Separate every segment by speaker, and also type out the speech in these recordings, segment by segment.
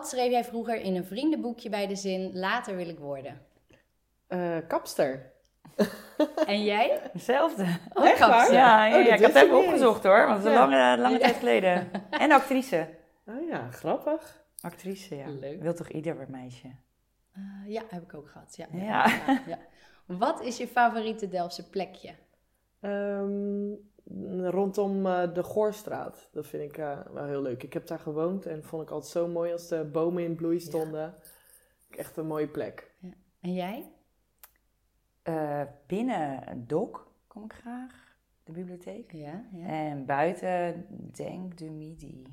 Speaker 1: Wat schreef jij vroeger in een vriendenboekje bij de zin later wil ik worden?
Speaker 2: Eh, kapster.
Speaker 1: En jij?
Speaker 3: Hetzelfde.
Speaker 1: Oh,
Speaker 2: Echt waar?
Speaker 1: kapster.
Speaker 3: Ja,
Speaker 2: Oh,
Speaker 3: ja,
Speaker 2: dat
Speaker 3: ja, ik heb
Speaker 2: wist
Speaker 3: het
Speaker 2: ik
Speaker 3: even
Speaker 2: niet.
Speaker 3: opgezocht hoor, want het is
Speaker 2: Ja.
Speaker 3: lange, lange tijd geleden. En actrice.
Speaker 2: Oh ja, grappig.
Speaker 3: Actrice, ja.
Speaker 1: Leuk.
Speaker 3: Wil toch ieder wat meisje?
Speaker 1: Eh, ja, heb ik ook gehad. Ja.
Speaker 3: Ja.
Speaker 1: ja, ja. Wat is je favoriete Delftse plekje?
Speaker 2: Ehm, rondom eh, de Goorstraat. Dat vind ik eh, wel heel leuk. Ik heb daar gewoond en vond ik altijd zo mooi als de bomen in bloei stonden. Echt een mooie plek.
Speaker 1: En jij?
Speaker 3: Eh, binnen een dok kom ik graag, de bibliotheek.
Speaker 1: Ja, ja.
Speaker 3: En buiten denk de midi,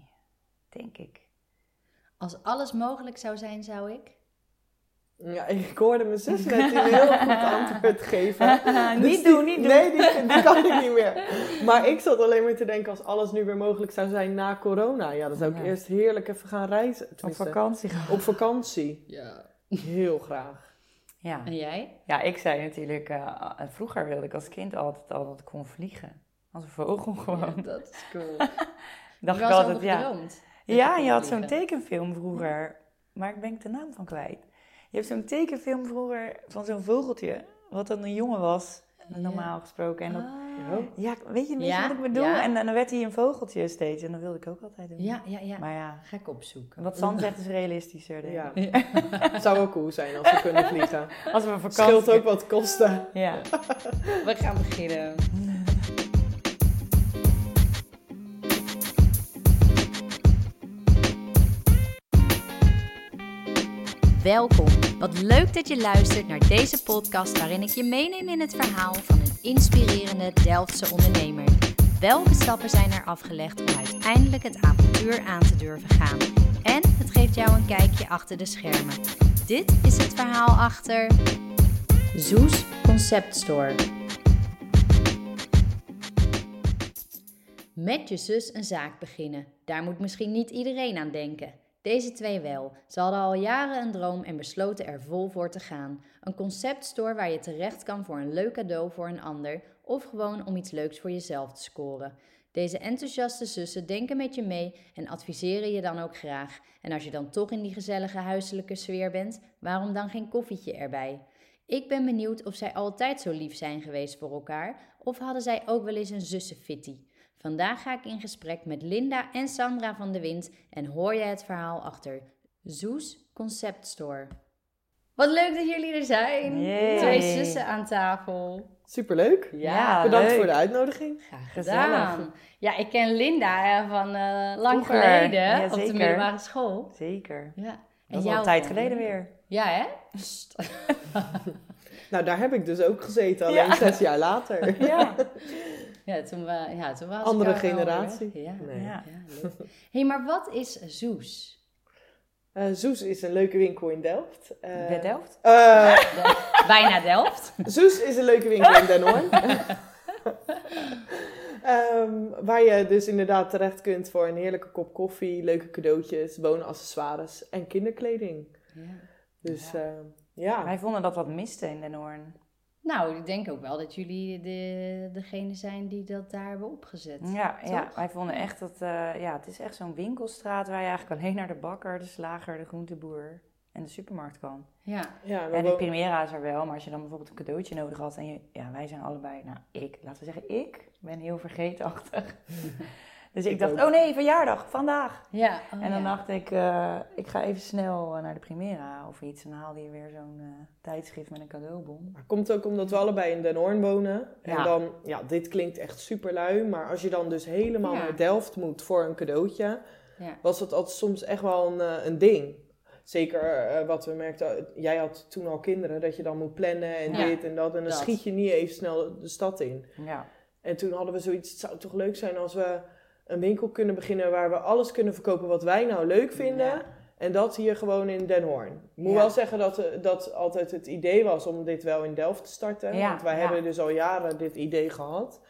Speaker 3: denk ik.
Speaker 1: Als alles mogelijk zou zijn, zou ik?
Speaker 2: Ja, ik hoorde mijn zus net een heel goed antwoord geven. Dus
Speaker 3: niet
Speaker 2: die-
Speaker 3: doen, niet doen.
Speaker 2: Nee, die, die kan ik niet meer. Maar ik zat alleen maar te denken, als alles nu weer mogelijk zou zijn na corona. Ja, dan zou ik
Speaker 3: Ja.
Speaker 2: eerst heerlijk even gaan reizen.
Speaker 3: Op
Speaker 2: Tenminste,
Speaker 3: vakantie gaan.
Speaker 2: Op vakantie.
Speaker 1: Ja.
Speaker 2: Heel graag.
Speaker 3: Ja.
Speaker 1: En jij?
Speaker 3: ja, ik zei natuurlijk, eh, vroeger wilde ik als kind altijd al dat ik kon vliegen. Als een vogel gewoon.
Speaker 1: Ja, dat is cool.
Speaker 3: Dacht
Speaker 1: je
Speaker 3: ik
Speaker 1: was
Speaker 3: altijd,
Speaker 1: over
Speaker 3: ja.
Speaker 1: gedroomd.
Speaker 3: Ja, je had
Speaker 1: vliegen.
Speaker 3: zo'n tekenfilm vroeger, maar ik ben ik de naam van kwijt. Je hebt zo'n tekenfilm vroeger van zo'n vogeltje, wat dan een jongen was, normaal gesproken. En dat,
Speaker 1: Ah.
Speaker 2: Ja.
Speaker 3: ja, weet je een beetje
Speaker 1: Ja,
Speaker 3: wat ik bedoel?
Speaker 1: ja.
Speaker 3: En, dan werd hij een vogeltje steeds en dat wilde ik ook altijd doen.
Speaker 1: Ja, ja, ja.
Speaker 3: Maar ja,
Speaker 1: Ga ik opzoeken.
Speaker 3: wat Sam zegt is realistischer. Denk
Speaker 2: Ja.
Speaker 3: ik.
Speaker 2: Zou wel cool zijn als we kunnen vliegen.
Speaker 3: Als we op vakantie...
Speaker 2: Scheelt ook wat kosten.
Speaker 3: Ja.
Speaker 1: We gaan beginnen. Welkom. Wat leuk dat je luistert naar deze podcast waarin ik je meeneem in het verhaal van een inspirerende Delftse ondernemer. Welke stappen zijn er afgelegd om uiteindelijk het avontuur aan te durven gaan? En het geeft jou een kijkje achter de schermen. Dit is het verhaal achter Zoes Concept Store. Met je zus een zaak beginnen. Daar moet misschien niet iedereen aan denken. Deze twee wel. Ze hadden al jaren een droom en besloten er vol voor te gaan. Een conceptstore waar je terecht kan voor een leuk cadeau voor een ander of gewoon om iets leuks voor jezelf te scoren. Deze enthousiaste zussen denken met je mee en adviseren je dan ook graag. En als je dan toch in die gezellige huiselijke sfeer bent, waarom dan geen koffietje erbij? Ik ben benieuwd of zij altijd zo lief zijn geweest voor elkaar of hadden zij ook wel eens een zussenfitty. Vandaag ga ik in gesprek met Linda en Sandra van de Wind en hoor je het verhaal achter Zoes Concept Store. Wat leuk dat jullie er zijn.
Speaker 3: Yay.
Speaker 1: Twee zussen aan tafel.
Speaker 2: Superleuk.
Speaker 3: Ja,
Speaker 2: Bedankt
Speaker 3: leuk.
Speaker 2: voor de uitnodiging.
Speaker 1: Graag
Speaker 3: Gezellig.
Speaker 1: gedaan. Ja, ik ken Linda eh, van eh, lang
Speaker 3: Vroeger.
Speaker 1: geleden
Speaker 3: Ja,
Speaker 1: op de
Speaker 3: zeker.
Speaker 1: middelbare school.
Speaker 3: Zeker.
Speaker 1: Ja.
Speaker 3: Dat is al
Speaker 1: jou
Speaker 3: een tijd
Speaker 1: van-
Speaker 3: geleden weer.
Speaker 1: Ja, hè?
Speaker 2: Nou, daar heb ik dus ook gezeten, alleen
Speaker 3: Ja.
Speaker 2: zes jaar later.
Speaker 3: Ja.
Speaker 1: Ja, toen, we, ja, toen was ik
Speaker 2: Andere
Speaker 1: al wel
Speaker 2: generatie.
Speaker 1: weer. Ja.
Speaker 2: Nee.
Speaker 3: Ja.
Speaker 1: Ja, leuk. hey, maar wat is Zoes?
Speaker 2: Eh, Zoes is een leuke winkel in Delft. Eh,
Speaker 3: Bij Delft?
Speaker 2: eh,
Speaker 1: Bijna Delft.
Speaker 2: Zoes is een leuke winkel in Den Hoorn. Ehm, waar je dus inderdaad terecht kunt voor een heerlijke kop koffie, leuke cadeautjes, woonaccessoires en kinderkleding. Dus
Speaker 3: Ja.
Speaker 2: ehm, ja.
Speaker 3: Wij vonden dat wat miste in Den Hoorn.
Speaker 1: Nou, ik denk ook wel dat jullie de, degene zijn die dat daar hebben opgezet.
Speaker 3: Ja, ja,
Speaker 1: Toch?
Speaker 3: wij vonden echt dat, eh, ja, het is echt zo'n winkelstraat waar je eigenlijk alleen naar de bakker, de slager, de groenteboer en de supermarkt kan.
Speaker 1: Ja.
Speaker 2: ja, we
Speaker 3: En de
Speaker 2: wonen-
Speaker 3: Primera is er wel, maar als je dan bijvoorbeeld een cadeautje nodig had en je, ja, wij zijn allebei, nou ik, laten we zeggen ik, ben heel vergeetachtig. dus ik,
Speaker 2: Ik
Speaker 3: dacht,
Speaker 2: ook.
Speaker 3: oh nee, verjaardag, vandaag.
Speaker 1: ja. oh
Speaker 3: en dan
Speaker 1: ja.
Speaker 3: dacht ik, eh, ik ga even snel eh, naar de Primera of iets en dan haalde je weer zo'n eh, tijdschrift met een cadeaubon.
Speaker 2: Maar Komt ook omdat we allebei in Den Hoorn wonen. En
Speaker 3: Ja.
Speaker 2: dan, ja, dit klinkt echt super lui, maar als je dan dus helemaal
Speaker 1: Ja.
Speaker 2: naar Delft moet voor een cadeautje,
Speaker 1: Ja.
Speaker 2: was dat altijd soms echt wel een, eh, een ding. Zeker eh, wat we merkten, eh, jij had toen al kinderen, dat je dan moet plannen en
Speaker 1: Ja,
Speaker 2: dit en dat. En dan
Speaker 1: dat.
Speaker 2: schiet je niet even snel de stad in.
Speaker 3: Ja,
Speaker 2: En toen hadden we zoiets, het zou toch leuk zijn als we een winkel kunnen beginnen waar we alles kunnen verkopen wat wij nou leuk vinden.
Speaker 3: Ja.
Speaker 2: En dat hier gewoon in Den Hoorn. Ik moet
Speaker 3: Ja.
Speaker 2: wel zeggen dat eh, dat altijd het idee was om dit wel in Delft te starten.
Speaker 3: Ja,
Speaker 2: want wij
Speaker 3: ja.
Speaker 2: hebben dus al jaren dit idee gehad.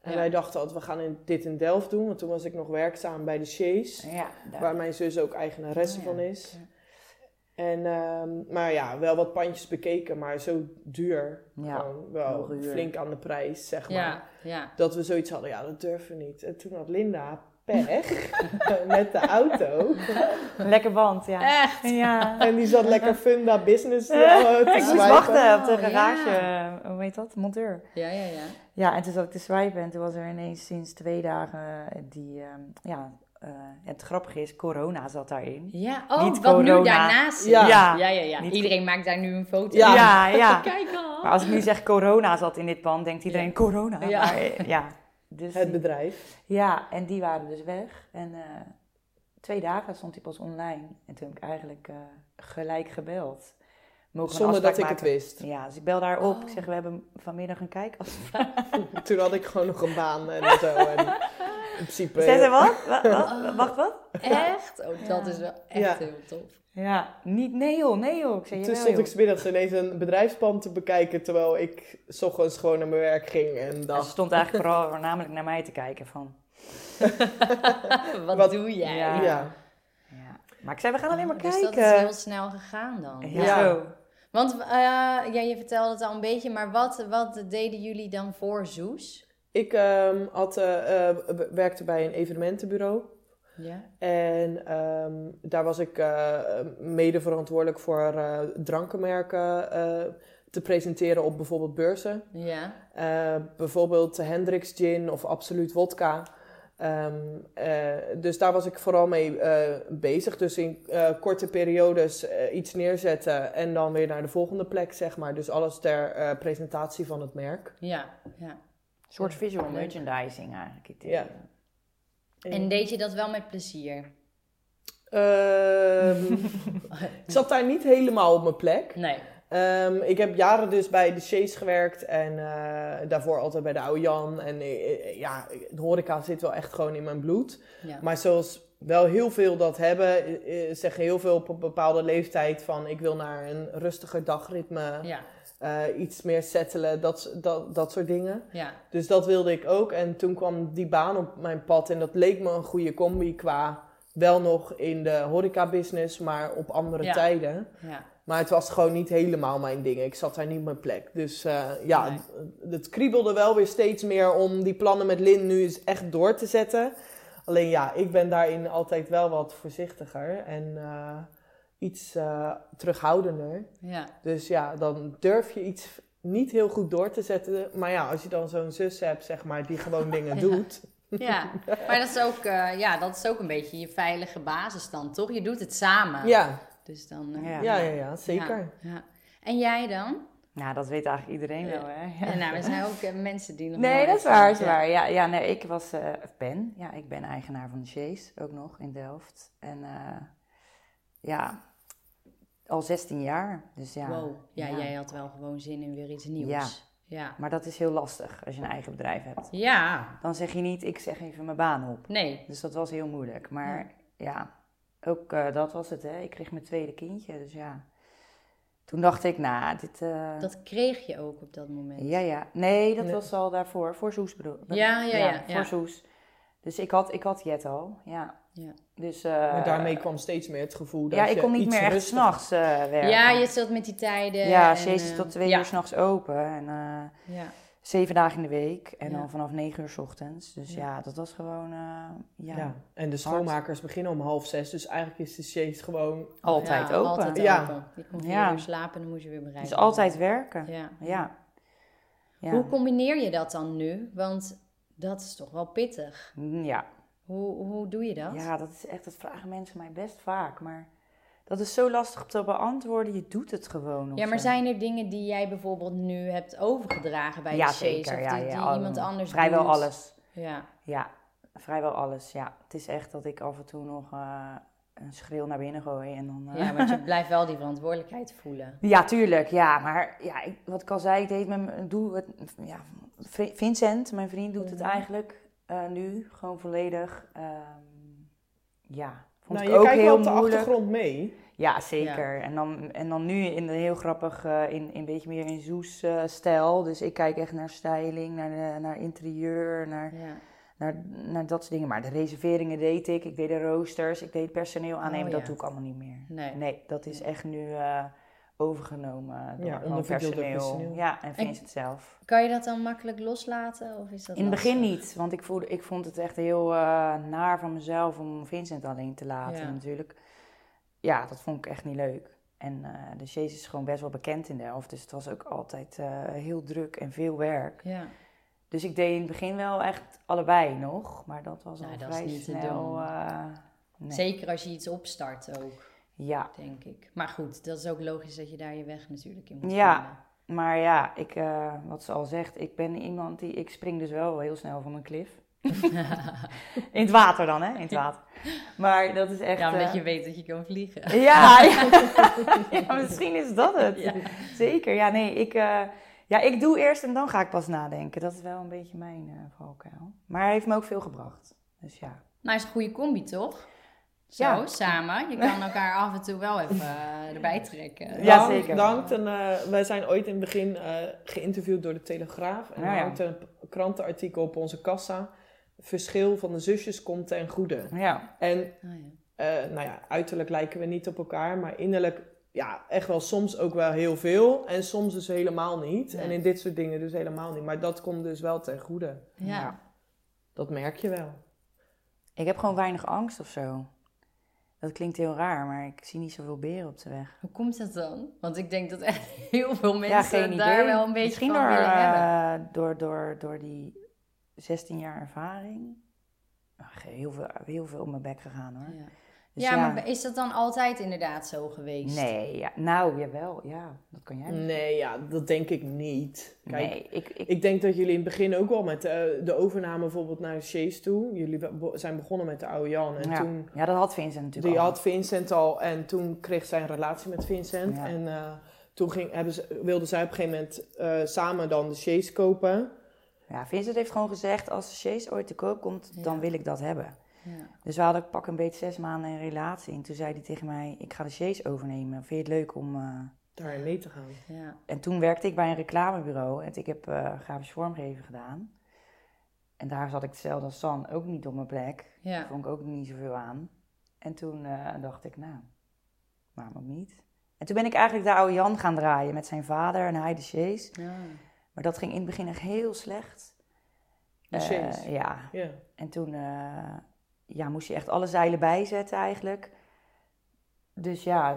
Speaker 2: En
Speaker 1: Ja.
Speaker 2: wij dachten altijd, we gaan in- dit in Delft doen. Want toen was ik nog werkzaam bij de Shays.
Speaker 3: ja, daar-
Speaker 2: Waar mijn zus ook eigenaresse
Speaker 3: Oh, ja.
Speaker 2: van is. En, ehm, maar ja, wel wat pandjes bekeken, maar zo duur.
Speaker 3: Ja,
Speaker 2: Gewoon wel
Speaker 3: heel duur.
Speaker 2: flink aan de prijs, zeg maar
Speaker 1: Ja, ja.
Speaker 2: dat we zoiets hadden, ja, dat durven we niet. En toen had Linda pech met de auto.
Speaker 3: Lekker band, ja.
Speaker 1: Echt?
Speaker 3: Ja.
Speaker 2: En die zat lekker funda business eh, te
Speaker 3: ik moest
Speaker 2: swipen.
Speaker 3: wachten op de
Speaker 1: Oh, ja.
Speaker 3: garage, eh, hoe heet dat, monteur.
Speaker 1: Ja, ja, ja.
Speaker 3: Ja, en toen zat ik te swipen en toen was er ineens sinds twee dagen die, ehm, ja, eh, het grappige is, corona zat daarin.
Speaker 1: Ja, oh,
Speaker 3: Niet
Speaker 1: wat nu
Speaker 3: corona.
Speaker 1: daarnaast zit.
Speaker 2: Ja.
Speaker 1: ja, ja. ja.
Speaker 3: Niet-
Speaker 1: Iedereen maakt daar nu een foto
Speaker 2: Ja.
Speaker 1: van.
Speaker 3: ja. ja.
Speaker 1: Kijk al.
Speaker 3: Maar als ik nu zeg corona zat in dit pand, denkt iedereen corona.
Speaker 1: Ja.
Speaker 3: Ja. Maar, eh, ja. Dus
Speaker 2: Het
Speaker 3: die-
Speaker 2: bedrijf.
Speaker 3: ja, en die waren dus weg. En eh, twee dagen stond hij pas online. En toen heb ik eigenlijk eh, gelijk gebeld. Mogen we een
Speaker 2: Zonder dat ik
Speaker 3: afspraak
Speaker 2: het wist.
Speaker 3: maken? Ja, dus ik bel daar op.
Speaker 1: Oh.
Speaker 3: Ik zeg, we hebben vanmiddag een kijkafspraak.
Speaker 2: Toen had ik gewoon nog een baan en zo. En in principe...
Speaker 3: Zegt ze, wat? Wa- wa- Wacht, wat?
Speaker 1: Echt? Oh, dat is wel echt
Speaker 2: Ja.
Speaker 1: heel tof.
Speaker 3: Ja, niet, nee joh, nee joh. Ik
Speaker 2: Toen
Speaker 3: zei, jawel
Speaker 2: stond ik
Speaker 3: nou, joh.
Speaker 2: smiddags ineens een bedrijfspand te bekijken, terwijl ik s ochtends gewoon naar mijn werk ging en
Speaker 3: En Ze
Speaker 2: dacht...
Speaker 3: stond eigenlijk vooral voornamelijk naar mij te kijken van...
Speaker 1: Wat,
Speaker 2: Wat-
Speaker 1: doe jij?
Speaker 3: Ja.
Speaker 2: Ja,
Speaker 3: Ja. Maar ik zei, we gaan alleen maar
Speaker 1: dus
Speaker 3: kijken.
Speaker 1: dat is heel snel gegaan dan.
Speaker 3: ja.
Speaker 2: Ja.
Speaker 3: Zo.
Speaker 1: Want eh, ja, je vertelde het al een beetje, maar wat, wat deden jullie dan voor Zoes?
Speaker 2: ik ehm, had, eh, eh, w- werkte bij een evenementenbureau
Speaker 1: Ja.
Speaker 2: en ehm, daar was ik eh, mede verantwoordelijk voor eh, drankenmerken eh, te presenteren op bijvoorbeeld beurzen.
Speaker 1: Ja.
Speaker 2: Eh, bijvoorbeeld Hendrix Gin of Absoluut Wodka. Ehm, eh, dus daar was ik vooral mee eh, bezig. Dus in eh, korte periodes eh, iets neerzetten en dan weer naar de volgende plek, zeg maar. Dus alles ter eh, presentatie van het merk.
Speaker 1: Ja. ja.
Speaker 3: Een soort visual
Speaker 2: Leuk.
Speaker 3: merchandising eigenlijk. Ik denk.
Speaker 2: Ja.
Speaker 1: En deed je dat wel met plezier?
Speaker 2: Ehm, ik zat daar niet helemaal op mijn plek.
Speaker 1: Nee.
Speaker 2: Ehm, ik heb jaren dus bij de Chase gewerkt en eh, daarvoor altijd bij de Oude Jan. En eh, ja, de horeca zit wel echt gewoon in mijn bloed.
Speaker 1: Ja.
Speaker 2: Maar zoals wel heel veel dat hebben, eh, eh, zeggen heel veel op een bepaalde leeftijd van ik wil naar een rustiger dagritme,
Speaker 1: Ja.
Speaker 2: eh, iets meer settelen, dat, s- dat, dat soort dingen.
Speaker 1: Ja.
Speaker 2: Dus dat wilde ik ook. En toen kwam die baan op mijn pad en dat leek me een goede combi qua wel nog in de horeca-business, maar op andere
Speaker 1: Ja.
Speaker 2: tijden.
Speaker 1: Ja.
Speaker 2: Maar het was gewoon niet helemaal mijn ding. Ik zat daar niet op mijn plek. Dus eh, ja,
Speaker 1: Nee.
Speaker 2: het- het kriebelde wel weer steeds meer om die plannen met Lin nu eens echt door te zetten. Alleen ja, ik ben daarin altijd wel wat voorzichtiger en eh, iets eh, terughoudender.
Speaker 1: Ja.
Speaker 2: Dus ja, dan durf je iets niet heel goed door te zetten. Maar ja, als je dan zo'n zus hebt, zeg maar, die gewoon dingen doet.
Speaker 1: Ja. Maar dat is, ook, eh, ja, dat is ook een beetje je veilige basis dan, toch? Je doet het samen.
Speaker 2: Ja,
Speaker 1: Dus dan... eh,
Speaker 3: Ja.
Speaker 2: ja, ja, ja zeker.
Speaker 1: Ja. ja. En jij dan?
Speaker 3: Nou, dat weet eigenlijk iedereen wel, hè? Ja.
Speaker 1: En nou, er zijn ook eh, mensen die nog
Speaker 3: Nee,
Speaker 1: nooit
Speaker 3: dat is waar, dat is
Speaker 1: zijn.
Speaker 3: waar. Ja, ja nee, ik was, eh, of ben, ja, ik ben eigenaar van de Chase, ook nog, in Delft. En eh, ja, al 16 jaar, dus ja.
Speaker 1: Wow. Ja,
Speaker 3: Ja.
Speaker 1: jij had wel gewoon zin in weer iets nieuws.
Speaker 3: Ja.
Speaker 1: Ja.
Speaker 3: Maar dat is heel lastig als je een eigen bedrijf hebt.
Speaker 1: Ja.
Speaker 3: Dan zeg je niet, ik zeg even mijn baan op.
Speaker 1: Nee.
Speaker 3: Dus dat was heel moeilijk. Maar ja, ook eh, dat was het, hè. Ik kreeg mijn tweede kindje, dus ja. Toen dacht ik, nou, dit... eh,
Speaker 1: Dat kreeg je ook op dat moment.
Speaker 3: Ja, ja. Nee, dat
Speaker 2: Nee.
Speaker 3: was al daarvoor. Voor Soes bedoel ik.
Speaker 1: Ja, ja, ja, ja.
Speaker 3: Voor Soes. Dus ik had, ik had Jet al, ja.
Speaker 1: Ja.
Speaker 3: Dus, eh,
Speaker 2: Maar daarmee kwam steeds meer het gevoel dat
Speaker 3: Ja,
Speaker 2: je
Speaker 3: ik kon niet
Speaker 2: iets
Speaker 3: meer echt
Speaker 2: rustiger-
Speaker 3: s'nachts eh werken.
Speaker 1: Ja, je zat met die tijden.
Speaker 3: Ja,
Speaker 1: en,
Speaker 3: ze is
Speaker 1: eh,
Speaker 3: tot twee
Speaker 1: ja.
Speaker 3: uur s'nachts open. En eh,
Speaker 1: Ja.
Speaker 3: zeven dagen in de week. En
Speaker 1: Ja.
Speaker 3: dan vanaf negen uur s ochtends. Dus
Speaker 1: Ja.
Speaker 3: ja, dat was gewoon, eh, ja,
Speaker 2: Ja. en de schoonmakers beginnen om half zes, dus eigenlijk is de chase gewoon...
Speaker 3: altijd
Speaker 1: Oh, Ja,
Speaker 3: open.
Speaker 1: Altijd
Speaker 2: Ja.
Speaker 1: open. Je kon vier
Speaker 3: Ja.
Speaker 1: uur slapen en dan moest je weer bereiken.
Speaker 3: Dus altijd werken. Ja.
Speaker 1: Ja.
Speaker 3: ja.
Speaker 1: Hoe combineer je dat dan nu? Want dat is toch wel pittig.
Speaker 3: Mm, ja.
Speaker 1: Hoe, hoe doe je dat?
Speaker 3: Ja, dat is echt, dat vragen mensen mij best vaak. Maar dat is zo lastig te beantwoorden. Je doet het gewoon. of eh,
Speaker 1: Ja, maar
Speaker 3: zo.
Speaker 1: zijn er dingen die jij bijvoorbeeld nu hebt overgedragen bij
Speaker 3: ja,
Speaker 1: de Chase?
Speaker 3: zeker.
Speaker 1: Of
Speaker 3: ja,
Speaker 1: die,
Speaker 3: ja,
Speaker 1: die
Speaker 3: allemaal.
Speaker 1: iemand anders
Speaker 3: Vrijwel
Speaker 1: doet?
Speaker 3: alles.
Speaker 1: Ja,
Speaker 3: Ja, vrijwel alles. Ja, het is echt dat ik af en toe nog eh, een schreeuw naar binnen gooi. En dan, eh,
Speaker 1: ja want je blijft wel die verantwoordelijkheid voelen.
Speaker 3: Ja, tuurlijk. Ja, maar ja, ik, wat ik al zei, ik deed met mijn- doe het, ja, Vri- Vincent, mijn vriend, doet het
Speaker 1: Mhm.
Speaker 3: eigenlijk eh, nu gewoon volledig. ehm, ja, vond
Speaker 2: nou,
Speaker 3: ik
Speaker 2: je
Speaker 3: ook
Speaker 2: kijkt wel
Speaker 3: heel
Speaker 2: op de
Speaker 3: moeilijk.
Speaker 2: achtergrond mee.
Speaker 3: Ja, zeker. En, dan, en dan nu in de heel grappig, eh, in, in een beetje meer in Zoes-stijl. dus ik kijk echt naar styling, naar, de- naar interieur, naar,
Speaker 1: Ja.
Speaker 3: naar, naar dat soort dingen. Maar de reserveringen deed ik, ik deed de roosters, ik deed personeel aannemen.
Speaker 1: Oh,
Speaker 3: Dat
Speaker 1: ja.
Speaker 3: doe ik allemaal niet meer.
Speaker 1: Nee.
Speaker 3: Nee, dat is echt nu eh, overgenomen door
Speaker 2: Ja,
Speaker 3: gewoon
Speaker 2: onderverdeeld door
Speaker 3: personeel.
Speaker 2: personeel.
Speaker 3: Ja, en Vincent zelf.
Speaker 1: Kan je dat dan makkelijk loslaten? Of is dat
Speaker 3: In het begin
Speaker 1: lastig?
Speaker 3: niet, want ik, voelde, ik vond het echt heel eh, naar van mezelf om Vincent alleen te laten
Speaker 1: Ja.
Speaker 3: natuurlijk. Ja, dat vond ik echt niet leuk. En eh, de Chase is gewoon best wel bekend in Delft, dus het was ook altijd eh, heel druk en veel werk.
Speaker 1: Ja,
Speaker 3: Dus ik deed in het begin wel echt allebei nog, maar dat was al
Speaker 1: Nou, dat is
Speaker 3: vrij
Speaker 1: niet te
Speaker 3: snel...
Speaker 1: doen.
Speaker 3: eh, nee.
Speaker 1: zeker als je iets opstart ook,
Speaker 3: Ja,
Speaker 1: denk ik. Maar goed, dat is ook logisch dat je daar je weg natuurlijk in moet
Speaker 3: Ja.
Speaker 1: vinden.
Speaker 3: maar ja, ik, eh, wat ze al zegt, ik ben iemand die... Ik spring dus wel heel snel van een klif. in het water dan, hè? In het water. Maar dat is echt...
Speaker 1: Ja, omdat
Speaker 3: eh,
Speaker 1: je weet dat je kan vliegen.
Speaker 3: Ja, ja. Ja, misschien is dat het.
Speaker 1: Ja.
Speaker 3: Zeker. Ja, nee, ik, eh, ja, ik doe eerst en dan ga ik pas nadenken. Dat is wel een beetje mijn eh valkuil. Maar hij heeft me ook veel gebracht. Dus ja.
Speaker 1: Nou, is een goede combi, toch? Zo,
Speaker 3: Ja.
Speaker 1: samen. Je kan elkaar af en toe wel even eh, erbij trekken. Oh.
Speaker 3: Ja,
Speaker 2: Dank-
Speaker 3: zeker.
Speaker 2: Dankt. En, eh, wij zijn ooit in het begin eh, geïnterviewd door de Telegraaf. En
Speaker 3: Nou
Speaker 2: we
Speaker 3: ja.
Speaker 2: hangt een krantenartikel op onze kassa. Verschil van de zusjes komt ten goede.
Speaker 3: Ja.
Speaker 2: En
Speaker 1: Oh, ja.
Speaker 2: eh, nou ja, uiterlijk lijken we niet op elkaar, maar innerlijk, ja, echt wel soms ook wel heel veel. En soms dus helemaal niet.
Speaker 1: Nee.
Speaker 2: En in dit soort dingen dus helemaal niet. Maar dat komt dus wel ten goede.
Speaker 1: Ja.
Speaker 3: Ja.
Speaker 2: Dat merk je wel.
Speaker 3: Ik heb gewoon weinig angst of zo. Dat klinkt heel raar, maar ik zie niet zoveel beren op de weg.
Speaker 1: Hoe komt dat dan? Want ik denk dat echt heel veel
Speaker 3: ja,
Speaker 1: mensen
Speaker 3: geen idee.
Speaker 1: daar wel een beetje
Speaker 3: Misschien
Speaker 1: van
Speaker 3: door,
Speaker 1: willen hebben.
Speaker 3: eh, door, door, door die 16 jaar ervaring. Ach, heel, veel, heel veel op mijn bek gegaan hoor.
Speaker 1: Ja.
Speaker 3: Dus
Speaker 1: ja, maar is dat dan altijd inderdaad zo geweest?
Speaker 3: Nee, ja. nou jawel, ja. Dat kan jij
Speaker 1: Mm.
Speaker 2: Nee, ja, dat denk ik niet. Kijk,
Speaker 3: nee, ik, ik,
Speaker 2: ik denk dat jullie in het begin ook wel met eh, de overname bijvoorbeeld naar de Chase toe. Jullie be- zijn begonnen met de oude Jan en
Speaker 3: ja.
Speaker 2: toen...
Speaker 3: ja, dat had Vincent natuurlijk
Speaker 2: Die
Speaker 3: al.
Speaker 2: had Vincent al en toen kreeg zij een relatie met Vincent.
Speaker 3: Ja.
Speaker 2: En eh, toen ging, hebben ze, wilden zij op een gegeven moment eh, samen dan de Chase kopen.
Speaker 3: Ja, Vincent heeft gewoon gezegd, als de Chase ooit te koop komt,
Speaker 1: Ja.
Speaker 3: dan wil ik dat hebben.
Speaker 1: Ja.
Speaker 3: Dus we hadden pak een beetje zes maanden een relatie. En toen zei hij tegen mij, ik ga de Chase overnemen. Vind je het leuk om... eh,
Speaker 2: daarin mee te gaan.
Speaker 1: Ja.
Speaker 3: En toen werkte ik bij een reclamebureau. En ik heb eh grafisch vormgeven gedaan. En daar zat ik hetzelfde als San, ook niet op mijn plek.
Speaker 1: Ja.
Speaker 3: Vond ik ook niet zoveel aan. En toen eh, dacht ik, nou, waarom ook niet? En toen ben ik eigenlijk de oude Jan gaan draaien met zijn vader en hij de Chase.
Speaker 1: Ja.
Speaker 3: Maar dat ging in het begin echt heel slecht.
Speaker 2: De
Speaker 3: Eh,
Speaker 2: Chase.
Speaker 3: ja.
Speaker 2: Ja.
Speaker 3: En toen eh, ja, moest je echt alle zeilen bijzetten eigenlijk. Dus ja,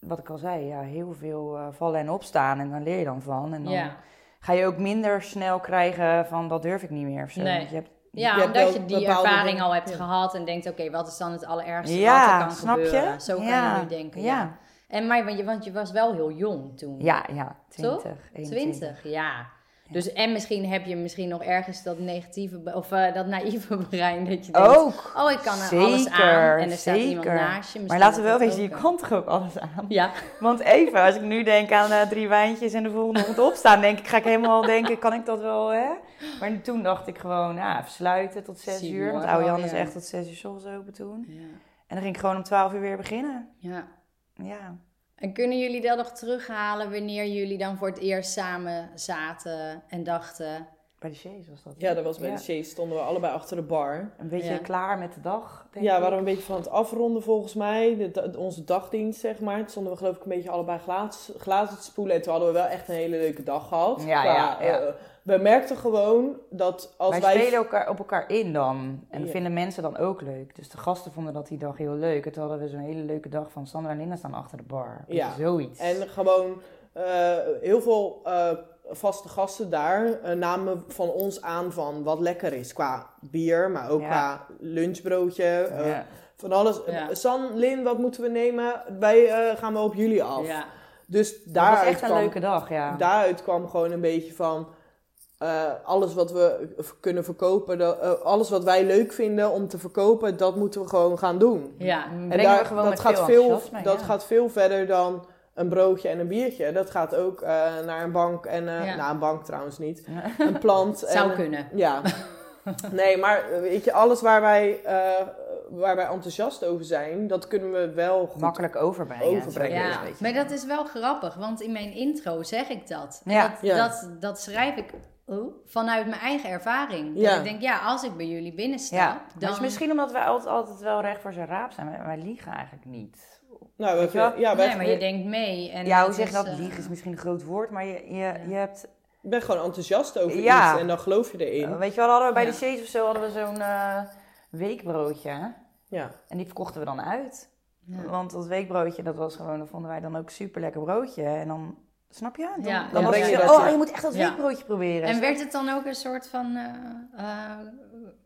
Speaker 3: wat ik al zei, ja, heel veel eh, vallen en opstaan. En dan leer je dan van. En dan
Speaker 1: Ja.
Speaker 3: ga je ook minder snel krijgen van dat durf ik niet meer of zo.
Speaker 1: Nee.
Speaker 3: Want je hebt,
Speaker 1: Ja,
Speaker 2: Je hebt
Speaker 1: omdat
Speaker 2: wel
Speaker 1: je die
Speaker 2: bepaalde
Speaker 1: ervaring
Speaker 2: dingen-
Speaker 1: al hebt
Speaker 2: ja.
Speaker 1: gehad en denkt, oké, wat is dan het allerergste
Speaker 3: ja,
Speaker 1: wat er kan
Speaker 3: snap
Speaker 1: gebeuren?
Speaker 3: je?
Speaker 1: Zo kan
Speaker 3: ja.
Speaker 1: je nu denken. Ja.
Speaker 3: Ja,
Speaker 1: En maar, want je, want je was wel heel jong toen.
Speaker 3: ja, ja.
Speaker 1: Toch?
Speaker 3: 20, 21.
Speaker 1: 20, ja. Dus en misschien heb je misschien nog ergens dat negatieve be- of eh, dat naïeve brein dat je denkt,
Speaker 3: Ook.
Speaker 1: oh ik kan er
Speaker 3: zeker,
Speaker 1: alles aan en er staat iemand
Speaker 3: zeker.
Speaker 1: naast je.
Speaker 3: Maar
Speaker 1: misschien
Speaker 3: laten we wel
Speaker 1: dat dat
Speaker 3: wezen, je
Speaker 1: ook, eh,
Speaker 3: kan toch ook alles aan?
Speaker 1: Ja,
Speaker 3: Want even, als ik nu denk aan eh, drie wijntjes en de volgende moet opstaan, denk ik, ga ik helemaal denken, kan ik dat wel, hè? Maar toen dacht ik gewoon, nou, versluiten tot zes
Speaker 1: Zie je
Speaker 3: uur. Want
Speaker 1: morgen
Speaker 3: oude
Speaker 1: wel
Speaker 3: Jan is
Speaker 1: weer.
Speaker 3: echt tot zes uur 's ochtends open toen.
Speaker 1: ja.
Speaker 3: En dan ging ik gewoon om twaalf uur weer beginnen.
Speaker 1: ja.
Speaker 3: Ja.
Speaker 1: En kunnen jullie dat nog terughalen wanneer jullie dan voor het eerst samen zaten en dachten,
Speaker 3: Bij de Chase was dat. hè?
Speaker 2: ja, dat was bij de Chase. Stonden we allebei achter de bar.
Speaker 3: Een beetje
Speaker 1: Ja.
Speaker 3: klaar met de dag, denk
Speaker 2: Ja, we
Speaker 3: ik.
Speaker 2: waren een beetje van het afronden volgens mij. De, da- onze dagdienst, zeg maar. Toen stonden we geloof ik een beetje allebei glaas, glazen te spoelen. En toen hadden we wel echt een hele leuke dag gehad.
Speaker 3: Ja, ja, ja.
Speaker 2: eh, we merkten gewoon dat als
Speaker 3: Wij,
Speaker 2: wij...
Speaker 3: spelen elkaar op elkaar in dan. En dat
Speaker 2: Ja.
Speaker 3: vinden mensen dan ook leuk. Dus de gasten vonden dat die dag heel leuk. En toen hadden we zo'n hele leuke dag van Sandra en Linda staan achter de bar.
Speaker 2: Ja.
Speaker 3: Ja. Zoiets.
Speaker 2: En gewoon eh, heel veel eh, vaste gasten daar eh, namen van ons aan van wat lekker is. Qua bier, maar ook
Speaker 3: Ja.
Speaker 2: qua lunchbroodje. eh,
Speaker 3: Ja.
Speaker 2: Van alles.
Speaker 1: Ja.
Speaker 2: San, Lin, wat moeten we nemen? Wij eh, gaan we op jullie af.
Speaker 1: ja,
Speaker 2: Dus
Speaker 3: Dat was
Speaker 2: daaruit
Speaker 3: echt een
Speaker 2: kwam,
Speaker 3: leuke dag, ja.
Speaker 2: daaruit kwam gewoon een beetje van... eh, alles wat we v- kunnen verkopen, dat- eh, alles wat wij leuk vinden om te verkopen, dat moeten we gewoon gaan doen.
Speaker 1: ja,
Speaker 3: En
Speaker 2: En daar- dat gaat veel, dat gaat veel verder dan een broodje en een biertje. Dat gaat ook eh, naar een bank en eh
Speaker 1: Ja.
Speaker 2: nou een bank trouwens niet,
Speaker 3: Ja.
Speaker 2: een plant.
Speaker 1: zou
Speaker 2: en,
Speaker 1: kunnen.
Speaker 2: Ja. Nee, maar eh, weet je, alles waar wij, eh, waar wij enthousiast over zijn, dat kunnen we wel goed.
Speaker 3: makkelijk overbrengen.
Speaker 2: Overbrengen,
Speaker 3: Zo,
Speaker 1: Ja,
Speaker 2: weet
Speaker 1: maar dat is wel grappig, want in mijn intro zeg ik dat.
Speaker 3: Ja.
Speaker 1: Dat,
Speaker 2: Ja.
Speaker 1: dat, dat schrijf ik oh, vanuit mijn eigen ervaring. Dat
Speaker 2: Ja.
Speaker 1: ik denk, ja, als ik bij jullie binnensta,
Speaker 3: Ja,
Speaker 1: dan...
Speaker 3: dus misschien omdat wij altijd, altijd wel recht voor zijn raap zijn. Wij, wij liegen eigenlijk niet.
Speaker 2: Nou,
Speaker 3: Weet
Speaker 2: we,
Speaker 3: je wel?
Speaker 2: ja, wij,
Speaker 1: nee, maar je denkt mee. En
Speaker 3: ja,
Speaker 1: dat
Speaker 3: hoe zeg je
Speaker 1: is,
Speaker 3: dat?
Speaker 1: eh,
Speaker 3: Liegen is misschien een groot woord, maar je, je, je hebt...
Speaker 2: ik ben gewoon enthousiast over
Speaker 3: Ja.
Speaker 2: iets en dan geloof je erin.
Speaker 3: Weet je wel, hadden we bij
Speaker 1: Ja.
Speaker 3: de Chase of zo hadden we zo'n eh, weekbroodje. hè?
Speaker 2: ja.
Speaker 3: En die verkochten we dan uit.
Speaker 1: Ja.
Speaker 3: Want dat weekbroodje, dat was gewoon, dat vonden wij dan ook super lekker broodje. En dan, snap je? Dan,
Speaker 1: Ja,
Speaker 2: Dan
Speaker 3: was
Speaker 2: breng je
Speaker 3: het,
Speaker 2: dat,
Speaker 3: Oh,
Speaker 2: ja.
Speaker 3: je moet echt dat
Speaker 1: eh, Ja.
Speaker 3: weekbroodje proberen.
Speaker 1: En werd het dan ook een soort van eh, eh,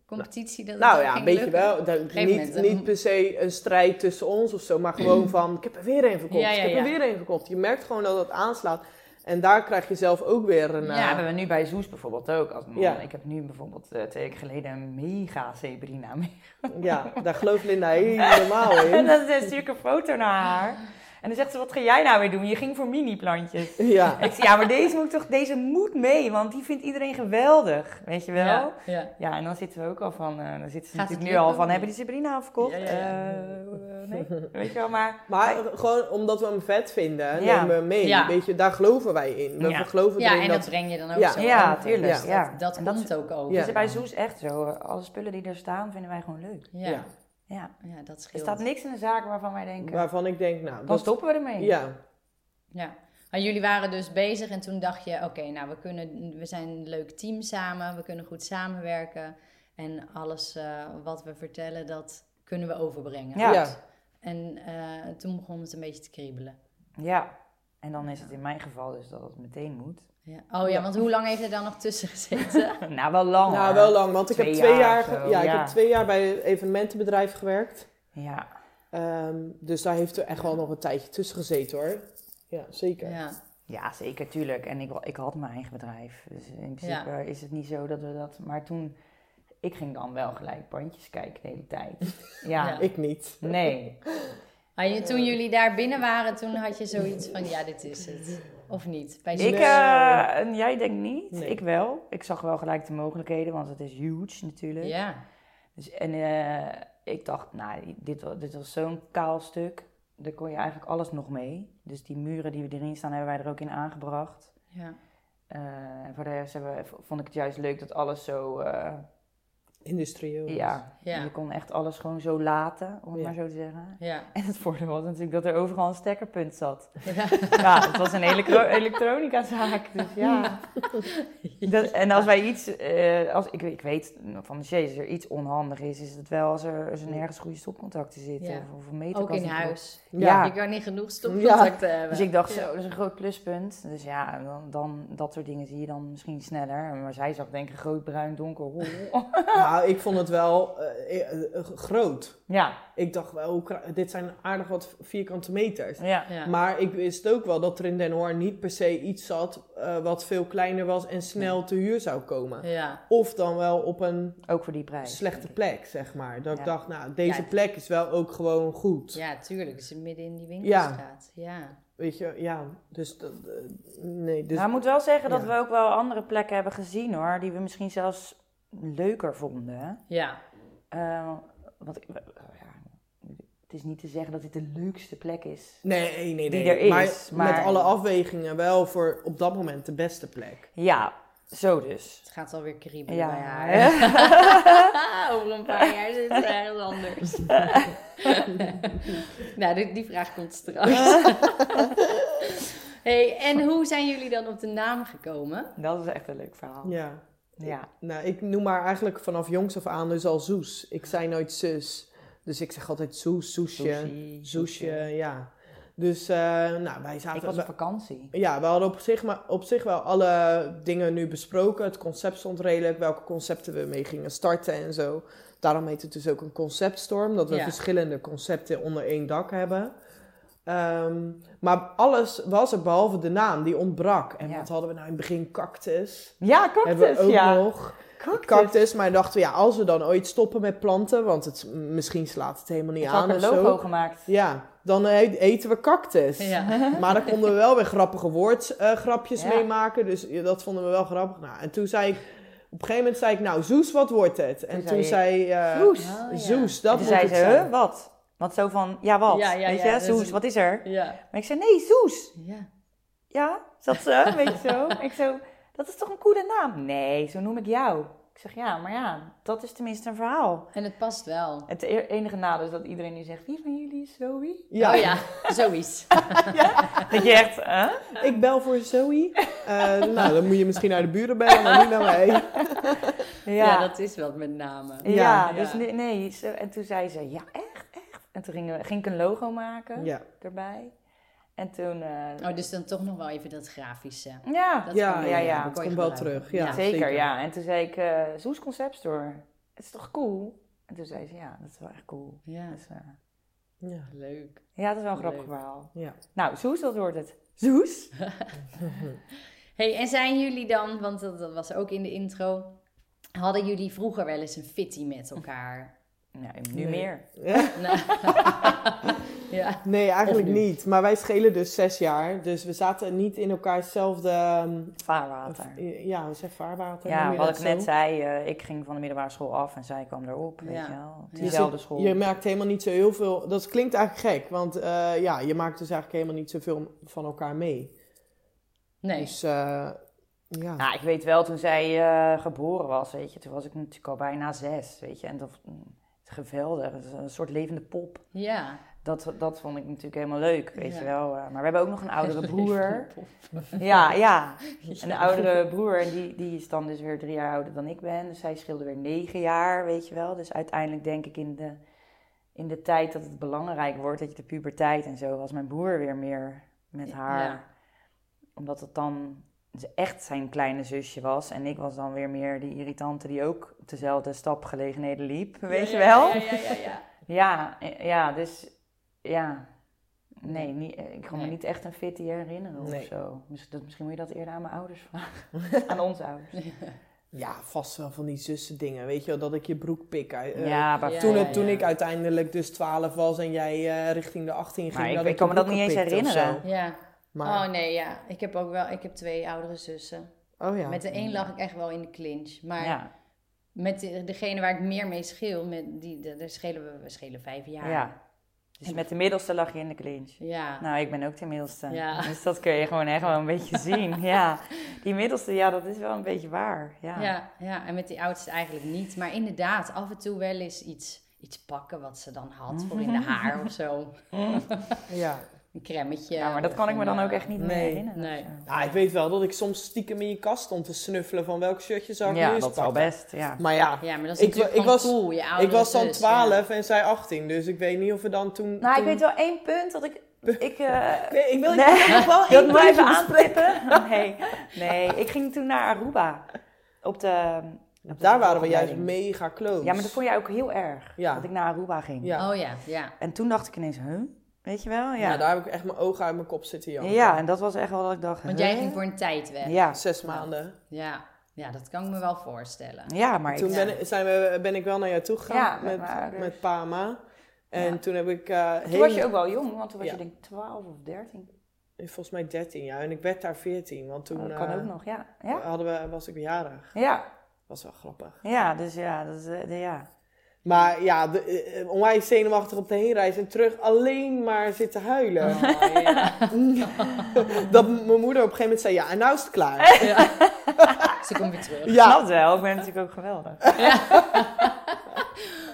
Speaker 1: competitie? Dat het
Speaker 2: Nou
Speaker 1: ook
Speaker 2: ja,
Speaker 1: ging
Speaker 2: een beetje
Speaker 1: lukken?
Speaker 2: wel. Dat-
Speaker 1: gegeven
Speaker 2: niet,
Speaker 1: moment, eh,
Speaker 2: niet per se een strijd tussen ons of zo, maar gewoon van: ik heb er weer een verkocht,
Speaker 1: Ja, ja,
Speaker 2: ik heb er
Speaker 1: ja.
Speaker 2: weer een verkocht. Je merkt gewoon dat dat aanslaat. En daar krijg je zelf ook weer een.
Speaker 1: Ja,
Speaker 2: eh,
Speaker 3: Ja, hebben we nu bij Zoes bijvoorbeeld ook. Als man.
Speaker 2: Ja.
Speaker 3: Ik heb nu bijvoorbeeld eh, twee weken geleden een mega zebrina mee.
Speaker 2: ja, daar gelooft Linda helemaal
Speaker 3: En
Speaker 2: in.
Speaker 3: dan stuur ik een foto naar haar. En dan zegt ze, wat ga jij nou weer doen? Je ging voor mini-plantjes.
Speaker 2: Ja,
Speaker 3: Ik zeg, ja, maar deze moet toch, deze moet mee, want die vindt iedereen geweldig, weet je wel? Ja,
Speaker 1: Ja, ja.
Speaker 3: en dan zitten we ook al van, eh, dan zitten ze
Speaker 1: Gaat het
Speaker 3: natuurlijk nu al
Speaker 1: lukken?
Speaker 3: van, hebben die Sabrina al verkocht?
Speaker 1: Ja, ja, ja.
Speaker 3: Eh, eh, nee, weet je wel, maar...
Speaker 2: maar gewoon omdat we hem vet vinden,
Speaker 3: Ja.
Speaker 2: nemen we hem mee.
Speaker 1: Ja.
Speaker 2: Weet je, daar geloven wij in. We
Speaker 3: Ja.
Speaker 2: geloven
Speaker 1: Ja,
Speaker 2: erin
Speaker 1: en dat
Speaker 2: dat.
Speaker 1: breng je dan ook
Speaker 2: Ja.
Speaker 1: zo
Speaker 3: Ja,
Speaker 1: over.
Speaker 3: tuurlijk,
Speaker 1: Dus
Speaker 3: ja.
Speaker 1: Dat, dat
Speaker 3: En dat-
Speaker 1: komt ook over.
Speaker 2: Ja.
Speaker 3: Het is bij Zoes echt zo, eh, alle spullen die er staan vinden wij gewoon leuk.
Speaker 1: Ja.
Speaker 2: Ja.
Speaker 1: Ja.
Speaker 3: Ja,
Speaker 1: dat
Speaker 3: er
Speaker 1: scheelt.
Speaker 3: staat niks in de zaak waarvan wij denken,
Speaker 2: Waarvan ik denk, nou,
Speaker 3: dan
Speaker 2: dat,
Speaker 3: stoppen we ermee.
Speaker 2: ja,
Speaker 1: Ja. Maar jullie waren dus bezig en toen dacht je, oké, nou we, kunnen, we zijn een leuk team samen, we kunnen goed samenwerken. En alles eh, wat we vertellen, dat kunnen we overbrengen.
Speaker 3: Ja.
Speaker 2: Ja.
Speaker 1: En eh, toen begon het een beetje te kriebelen.
Speaker 3: Ja, en dan is het in mijn geval dus dat het meteen moet.
Speaker 1: Ja. Oh ja, want hoe lang heeft er dan nog tussen gezeten?
Speaker 3: nou, wel
Speaker 1: Oh,
Speaker 3: lang.
Speaker 2: nou
Speaker 3: hoor.
Speaker 2: wel lang. Want ik,
Speaker 3: Twee
Speaker 2: heb twee
Speaker 3: jaar
Speaker 2: jaar,
Speaker 3: of
Speaker 2: ge-
Speaker 3: zo,
Speaker 2: ja,
Speaker 3: ja.
Speaker 2: ik heb twee jaar bij een evenementenbedrijf gewerkt.
Speaker 3: Ja,
Speaker 2: Ehm, dus daar heeft er echt wel nog een tijdje tussen gezeten hoor. Ja, zeker.
Speaker 1: ja.
Speaker 3: ja zeker, tuurlijk. En ik, wa- ik had mijn eigen bedrijf. Dus in principe is het niet zo dat we dat... Maar toen, ik ging dan wel gelijk bandjes kijken de hele tijd. Ja,
Speaker 1: Ja.
Speaker 2: Ik niet.
Speaker 3: nee.
Speaker 1: Maar je- toen jullie daar binnen waren, toen had je zoiets van, ja, dit is het. Of niet? Bij
Speaker 3: Ik,
Speaker 1: zo'n-
Speaker 3: eh, en jij denkt niet,
Speaker 2: Nee.
Speaker 3: ik wel. Ik zag wel gelijk de mogelijkheden, want het is huge natuurlijk.
Speaker 1: Ja,
Speaker 3: Dus, en eh, ik dacht, nou, dit was, dit was zo'n kaal stuk. Daar kon je eigenlijk alles nog mee. Dus die muren die erin staan, hebben wij er ook in aangebracht.
Speaker 1: ja.
Speaker 3: Eh, en voor de rest hebben we- vond ik het juist leuk dat alles zo... eh,
Speaker 2: Industrieel.
Speaker 3: ja,
Speaker 1: Ja.
Speaker 3: je kon echt alles gewoon zo laten, om het
Speaker 2: Ja.
Speaker 3: maar zo te zeggen.
Speaker 1: Ja.
Speaker 3: En het voordeel was natuurlijk dat er overal een stekkerpunt zat.
Speaker 1: ja.
Speaker 3: Ja, het was een elektro elektronicazaak, dus ja. Dat, en als wij iets, eh, als, ik, ik weet van de Chase, als er iets onhandig is, is het wel als er, als er nergens goede stopcontacten zitten.
Speaker 1: Ja.
Speaker 3: Of, of een meterkast
Speaker 1: Ook in
Speaker 3: niet
Speaker 1: huis.
Speaker 3: klopt. Ja,
Speaker 1: Je kan niet genoeg stopcontacten hebben.
Speaker 3: Dus ik dacht,
Speaker 1: Ja.
Speaker 3: zo, dat is een groot pluspunt. Dus ja, dan, dan, dat soort dingen zie je dan misschien sneller. Maar zij zag denk ik een groot bruin donker hol.
Speaker 2: Nou, ik vond het wel eh, eh, eh, groot.
Speaker 3: Ja,
Speaker 2: Ik dacht wel, hoe kra- dit zijn aardig wat vierkante meters.
Speaker 3: ja.
Speaker 1: Ja.
Speaker 2: Maar ik wist ook wel dat er in Den Hoorn niet per se iets zat eh, wat veel kleiner was en snel te huur zou komen.
Speaker 1: Ja.
Speaker 2: Of dan wel op een
Speaker 3: Ook voor die prijs.
Speaker 2: slechte plek, zeg maar. Dat
Speaker 3: Ja.
Speaker 2: ik dacht, nou, deze
Speaker 1: Ja.
Speaker 2: plek is wel ook gewoon goed.
Speaker 1: ja, tuurlijk. Het is midden in die winkelstraat. Ja.
Speaker 2: Weet je, ja. Dus, dat, eh, nee, dus
Speaker 3: Maar ik moet wel zeggen dat
Speaker 2: Ja.
Speaker 3: we ook wel andere plekken hebben gezien hoor, die we misschien zelfs leuker vonden.
Speaker 1: Ja.
Speaker 3: Eh, want ik- we- ja, het is niet te zeggen dat dit de leukste plek is.
Speaker 2: Nee, nee, nee.
Speaker 3: Die er is, maar-
Speaker 2: met alle afwegingen wel voor op dat moment de beste plek.
Speaker 3: Ja, zo dus.
Speaker 1: Het gaat alweer kriebelen
Speaker 3: Ja.
Speaker 1: bij haar. Over een paar jaar zit ze ergens anders. nou, die, die vraag komt straks. hey, en hoe zijn jullie dan op de naam gekomen?
Speaker 3: Dat is echt een leuk verhaal.
Speaker 2: Ja.
Speaker 3: Ja.
Speaker 2: Nou, ik noem haar eigenlijk vanaf jongs af aan dus al Zoes. Ik zei nooit zus. Dus ik zeg altijd Zoes, Soesje.
Speaker 3: Sushi,
Speaker 2: Zoesje,
Speaker 3: sushi.
Speaker 2: ja. Dus, eh, nou, wij
Speaker 3: Ik
Speaker 2: zaten...
Speaker 3: was op
Speaker 2: we-
Speaker 3: vakantie.
Speaker 2: ja, we hadden op zich, maar op zich wel alle dingen nu besproken. Het concept stond redelijk, welke concepten we mee gingen starten en zo. Daarom heet het dus ook een conceptstorm, dat we
Speaker 1: Ja.
Speaker 2: verschillende concepten onder één dak hebben. Ehm, maar alles was er behalve de naam, die ontbrak. En
Speaker 3: Ja.
Speaker 2: wat hadden we nou in het begin? Cactus.
Speaker 3: Ja,
Speaker 2: hebben
Speaker 3: cactus,
Speaker 2: we ook
Speaker 3: ja.
Speaker 2: nog.
Speaker 3: Cactus.
Speaker 2: Cactus, maar dachten we, ja, als we dan ooit stoppen met planten, want het, misschien slaat het helemaal niet
Speaker 3: Ik had
Speaker 2: aan
Speaker 3: een
Speaker 2: of
Speaker 3: logo
Speaker 2: zo.
Speaker 3: gemaakt.
Speaker 2: Ja, dan eh, eten we cactus.
Speaker 1: Ja.
Speaker 2: Maar daar konden we wel weer grappige woordgrapjes
Speaker 3: Ja.
Speaker 2: mee maken. Dus eh, dat vonden we wel grappig. Nou, en toen zei ik... Op een gegeven moment zei ik, nou, Zoes, wat wordt het? En
Speaker 3: Toen
Speaker 2: toen,
Speaker 3: zei
Speaker 2: zei... eh,
Speaker 3: Zoes.
Speaker 1: Oh, ja.
Speaker 2: Zoes,
Speaker 3: En
Speaker 2: dat
Speaker 3: toen
Speaker 2: moet
Speaker 3: zei
Speaker 2: het
Speaker 3: ze,
Speaker 2: zijn.
Speaker 3: huh, wat? Want zo van, ja wat?
Speaker 1: Ja, ja,
Speaker 3: Weet
Speaker 1: ja,
Speaker 3: je,
Speaker 1: dat is
Speaker 3: Soes,
Speaker 1: een-
Speaker 3: wat is er?
Speaker 1: Ja.
Speaker 3: Maar ik zei, nee, Soes.
Speaker 1: Ja.
Speaker 3: Ja, zat ze, weet je zo. ik zo, dat is toch een coole naam? Nee, zo noem ik jou. Ik zeg, ja, maar ja, dat is tenminste een verhaal.
Speaker 1: En het past wel.
Speaker 3: Het e- enige nadeel is dat iedereen nu zegt, wie van jullie is Zoe?
Speaker 1: Oh ja, zoiets.
Speaker 3: Dat je echt, hè?
Speaker 2: Ik bel voor Zoe. Eh, nou, dan moet je misschien naar de buren bellen, maar niet naar mij.
Speaker 3: Ja,
Speaker 1: Ja. dat is wat met name.
Speaker 3: ja,
Speaker 2: ja.
Speaker 3: dus nee, nee, zo- en toen zei ze, ja, echt, echt. En toen ging, ging ik een logo maken
Speaker 2: Ja,
Speaker 3: erbij. En toen, eh,
Speaker 1: Oh, dus dan toch nog wel even dat grafische.
Speaker 3: ja,
Speaker 1: Dat
Speaker 2: ja,
Speaker 1: kan-
Speaker 2: ja,
Speaker 3: ja,
Speaker 2: dat
Speaker 1: kon je
Speaker 2: komt wel
Speaker 1: gebruiken.
Speaker 2: terug. Ja,
Speaker 1: Ja.
Speaker 3: zeker, ja. En toen zei ik, eh Zoes Concept Store, het is toch cool? En toen zei ze, ja, dat is wel echt cool.
Speaker 1: Ja,
Speaker 3: Dus, eh,
Speaker 2: Ja.
Speaker 1: leuk.
Speaker 3: ja, dat is wel een grappig
Speaker 1: Leuk.
Speaker 3: verhaal.
Speaker 2: Ja.
Speaker 3: Nou, Zoes, dat wordt het. Zoes?
Speaker 1: hey, en zijn jullie dan, want dat, dat was ook in de intro, hadden jullie vroeger wel eens een fitty met elkaar?
Speaker 3: Nou, nu
Speaker 2: Nee.
Speaker 3: meer.
Speaker 1: Nou, ja.
Speaker 2: Nee, eigenlijk
Speaker 1: Of nu.
Speaker 2: niet. Maar wij schelen dus zes jaar. Dus we zaten niet in elkaarszelfde... ehm,
Speaker 3: Vaarwater.
Speaker 2: Ja, we zeggen vaarwater. noem
Speaker 3: Ja,
Speaker 2: je
Speaker 3: wat
Speaker 2: dat
Speaker 3: ik
Speaker 2: zo?
Speaker 3: net zei, eh, ik ging van de middelbare school af en zij kwam erop, weet
Speaker 1: Ja.
Speaker 3: je wel.
Speaker 1: Ja.
Speaker 3: Dezelfde
Speaker 2: Dus
Speaker 3: school.
Speaker 2: Je maakt helemaal niet zo heel veel. Dat klinkt eigenlijk gek, want eh, ja, je maakt dus eigenlijk helemaal niet zoveel van elkaar mee.
Speaker 1: Nee.
Speaker 2: Dus eh, ja.
Speaker 3: Nou, ik weet wel, toen zij eh, geboren was, weet je, toen was ik natuurlijk al bijna zes, weet je. En dat mm, geweldig, Dat is een soort levende pop.
Speaker 1: Ja.
Speaker 3: Dat, dat vond ik natuurlijk helemaal leuk, weet
Speaker 1: Ja.
Speaker 3: je wel. Eh, maar we hebben ook nog een oudere broer. ja, ja. Een oudere broer, en die, die is dan dus weer drie jaar ouder dan ik ben. Dus hij scheelde weer negen jaar, weet je wel. Dus uiteindelijk denk ik in de, in de tijd dat het belangrijk wordt, dat je de puberteit en zo, was mijn broer weer meer met
Speaker 1: Ja.
Speaker 3: haar. Omdat het dan ze echt zijn kleine zusje was. En ik was dan weer meer die irritante die ook op dezelfde stapgelegenheden liep, weet
Speaker 1: Ja,
Speaker 3: je wel.
Speaker 1: Ja, ja, ja. ja.
Speaker 3: Ja, eh, ja, dus ja. Nee, niet, eh, ik kan
Speaker 1: Nee.
Speaker 3: me niet echt een fitty herinneren
Speaker 2: Nee.
Speaker 3: of zo. Miss- dat- Misschien moet je dat eerder aan mijn ouders vragen. aan onze ouders.
Speaker 2: Ja, vast wel van die zussen dingen. Weet je wel, dat ik je broek pik. uit- eh,
Speaker 3: ja,
Speaker 1: ja,
Speaker 2: Toen,
Speaker 3: bijvoorbeeld.
Speaker 2: het, toen
Speaker 1: ja.
Speaker 2: ik uiteindelijk dus 12 was en jij eh, richting de 18 ging.
Speaker 3: Maar ik-
Speaker 2: dat
Speaker 3: ik
Speaker 2: je
Speaker 3: kan me dat niet
Speaker 2: broeken
Speaker 3: eens
Speaker 2: pikte of
Speaker 3: herinneren.
Speaker 2: zo.
Speaker 1: Ja.
Speaker 2: Maar,
Speaker 1: Oh nee, ja. Ik heb ook wel, ik heb twee oudere zussen.
Speaker 2: oh ja.
Speaker 1: Met de een lag ik echt wel in de clinch. Maar
Speaker 3: ja.
Speaker 1: met de- degene waar ik meer mee scheel, met die, de- daar schelen we, we schelen vijf jaar.
Speaker 3: ja. Dus met de middelste lag je in de clinch.
Speaker 1: Ja.
Speaker 3: Nou, ik ben ook de middelste.
Speaker 1: Ja.
Speaker 3: Dus dat kun je gewoon echt wel een beetje zien. Ja, die middelste, ja, dat is wel een beetje waar. Ja.
Speaker 1: Ja, ja, en met die oudste eigenlijk niet. Maar inderdaad, af en toe wel eens iets, iets pakken wat ze dan had voor in de haar of zo.
Speaker 2: ja.
Speaker 1: Een cremmetje.
Speaker 3: Ja, maar dat
Speaker 1: of
Speaker 3: kan ik me
Speaker 1: een,
Speaker 3: dan
Speaker 1: eh,
Speaker 3: ook echt niet meer
Speaker 2: Nee.
Speaker 3: herinneren. of
Speaker 1: Nee.
Speaker 3: zo.
Speaker 2: Ja, ik weet wel dat ik soms stiekem in je kast stond te snuffelen van welk shirtje zou ik nu
Speaker 3: Ja,
Speaker 2: eens
Speaker 3: dat zou
Speaker 2: pakken.
Speaker 3: best. Ja.
Speaker 2: Maar ja,
Speaker 1: Ja, maar dat is
Speaker 2: Ik
Speaker 1: natuurlijk
Speaker 2: wa- ik
Speaker 1: gewoon
Speaker 2: was-
Speaker 1: cool, je
Speaker 2: ik
Speaker 1: oudere
Speaker 2: was dan
Speaker 1: zus,
Speaker 2: 12 en zij 18, dus ik weet niet of we dan toen...
Speaker 3: Nou, ik
Speaker 2: toen-
Speaker 3: weet wel één punt dat ik. ik eh,
Speaker 2: Nee, ik wil
Speaker 3: Nee.
Speaker 2: nog wel
Speaker 3: Wil
Speaker 2: één
Speaker 3: ik nog even
Speaker 2: puntje
Speaker 3: aanprippen? Nee. Oh, nee, ik ging toen naar Aruba. Op de, op de
Speaker 2: Daar waren we juist
Speaker 3: opleiding.
Speaker 2: mega close.
Speaker 3: Ja, maar dat vond jij ook heel erg.
Speaker 2: Ja.
Speaker 3: Dat ik naar Aruba ging.
Speaker 2: Ja.
Speaker 1: ja. Oh ja, ja.
Speaker 3: En toen dacht ik ineens, huh? Weet je wel? Ja.
Speaker 2: Nou, daar heb ik echt mijn ogen uit mijn kop zitten janken.
Speaker 3: ja, en dat was echt wel dat ik dacht,
Speaker 1: Want
Speaker 3: huh?
Speaker 1: jij ging voor een tijd weg. Ja.
Speaker 3: Ja,
Speaker 2: Zes maanden.
Speaker 1: Ja. dat kan ik me wel voorstellen.
Speaker 3: ja maar
Speaker 2: Toen
Speaker 3: ik...
Speaker 2: ben, ik- zijn we, ben ik wel naar jou toe gegaan
Speaker 3: Ja, met mijn
Speaker 2: met,
Speaker 3: ouders.
Speaker 2: met Pama. En
Speaker 3: Ja.
Speaker 2: toen heb ik... eh
Speaker 3: Toen
Speaker 2: heel-
Speaker 3: was je ook wel jong, want toen was
Speaker 2: Ja.
Speaker 3: je denk ik 12 of 13.
Speaker 2: Volgens mij 13 jaar. En ik werd daar 14, want toen
Speaker 3: Oh, dat kan
Speaker 2: eh,
Speaker 3: ook nog, ja. Ja,
Speaker 2: Hadden we, was ik jarig.
Speaker 3: ja.
Speaker 2: was wel grappig.
Speaker 3: ja dus ja, dat is... eh, de- ja.
Speaker 2: Maar ja, de, eh, onwijs zenuwachtig op de heenreis en terug alleen maar zitten huilen.
Speaker 1: Oh, ja.
Speaker 3: Oh.
Speaker 2: Dat m- mijn moeder op een gegeven moment zei, ja, en nou is het klaar.
Speaker 1: Ze komt weer terug.
Speaker 3: Ik
Speaker 2: Ja,
Speaker 3: snap het wel, ik ben natuurlijk ook geweldig.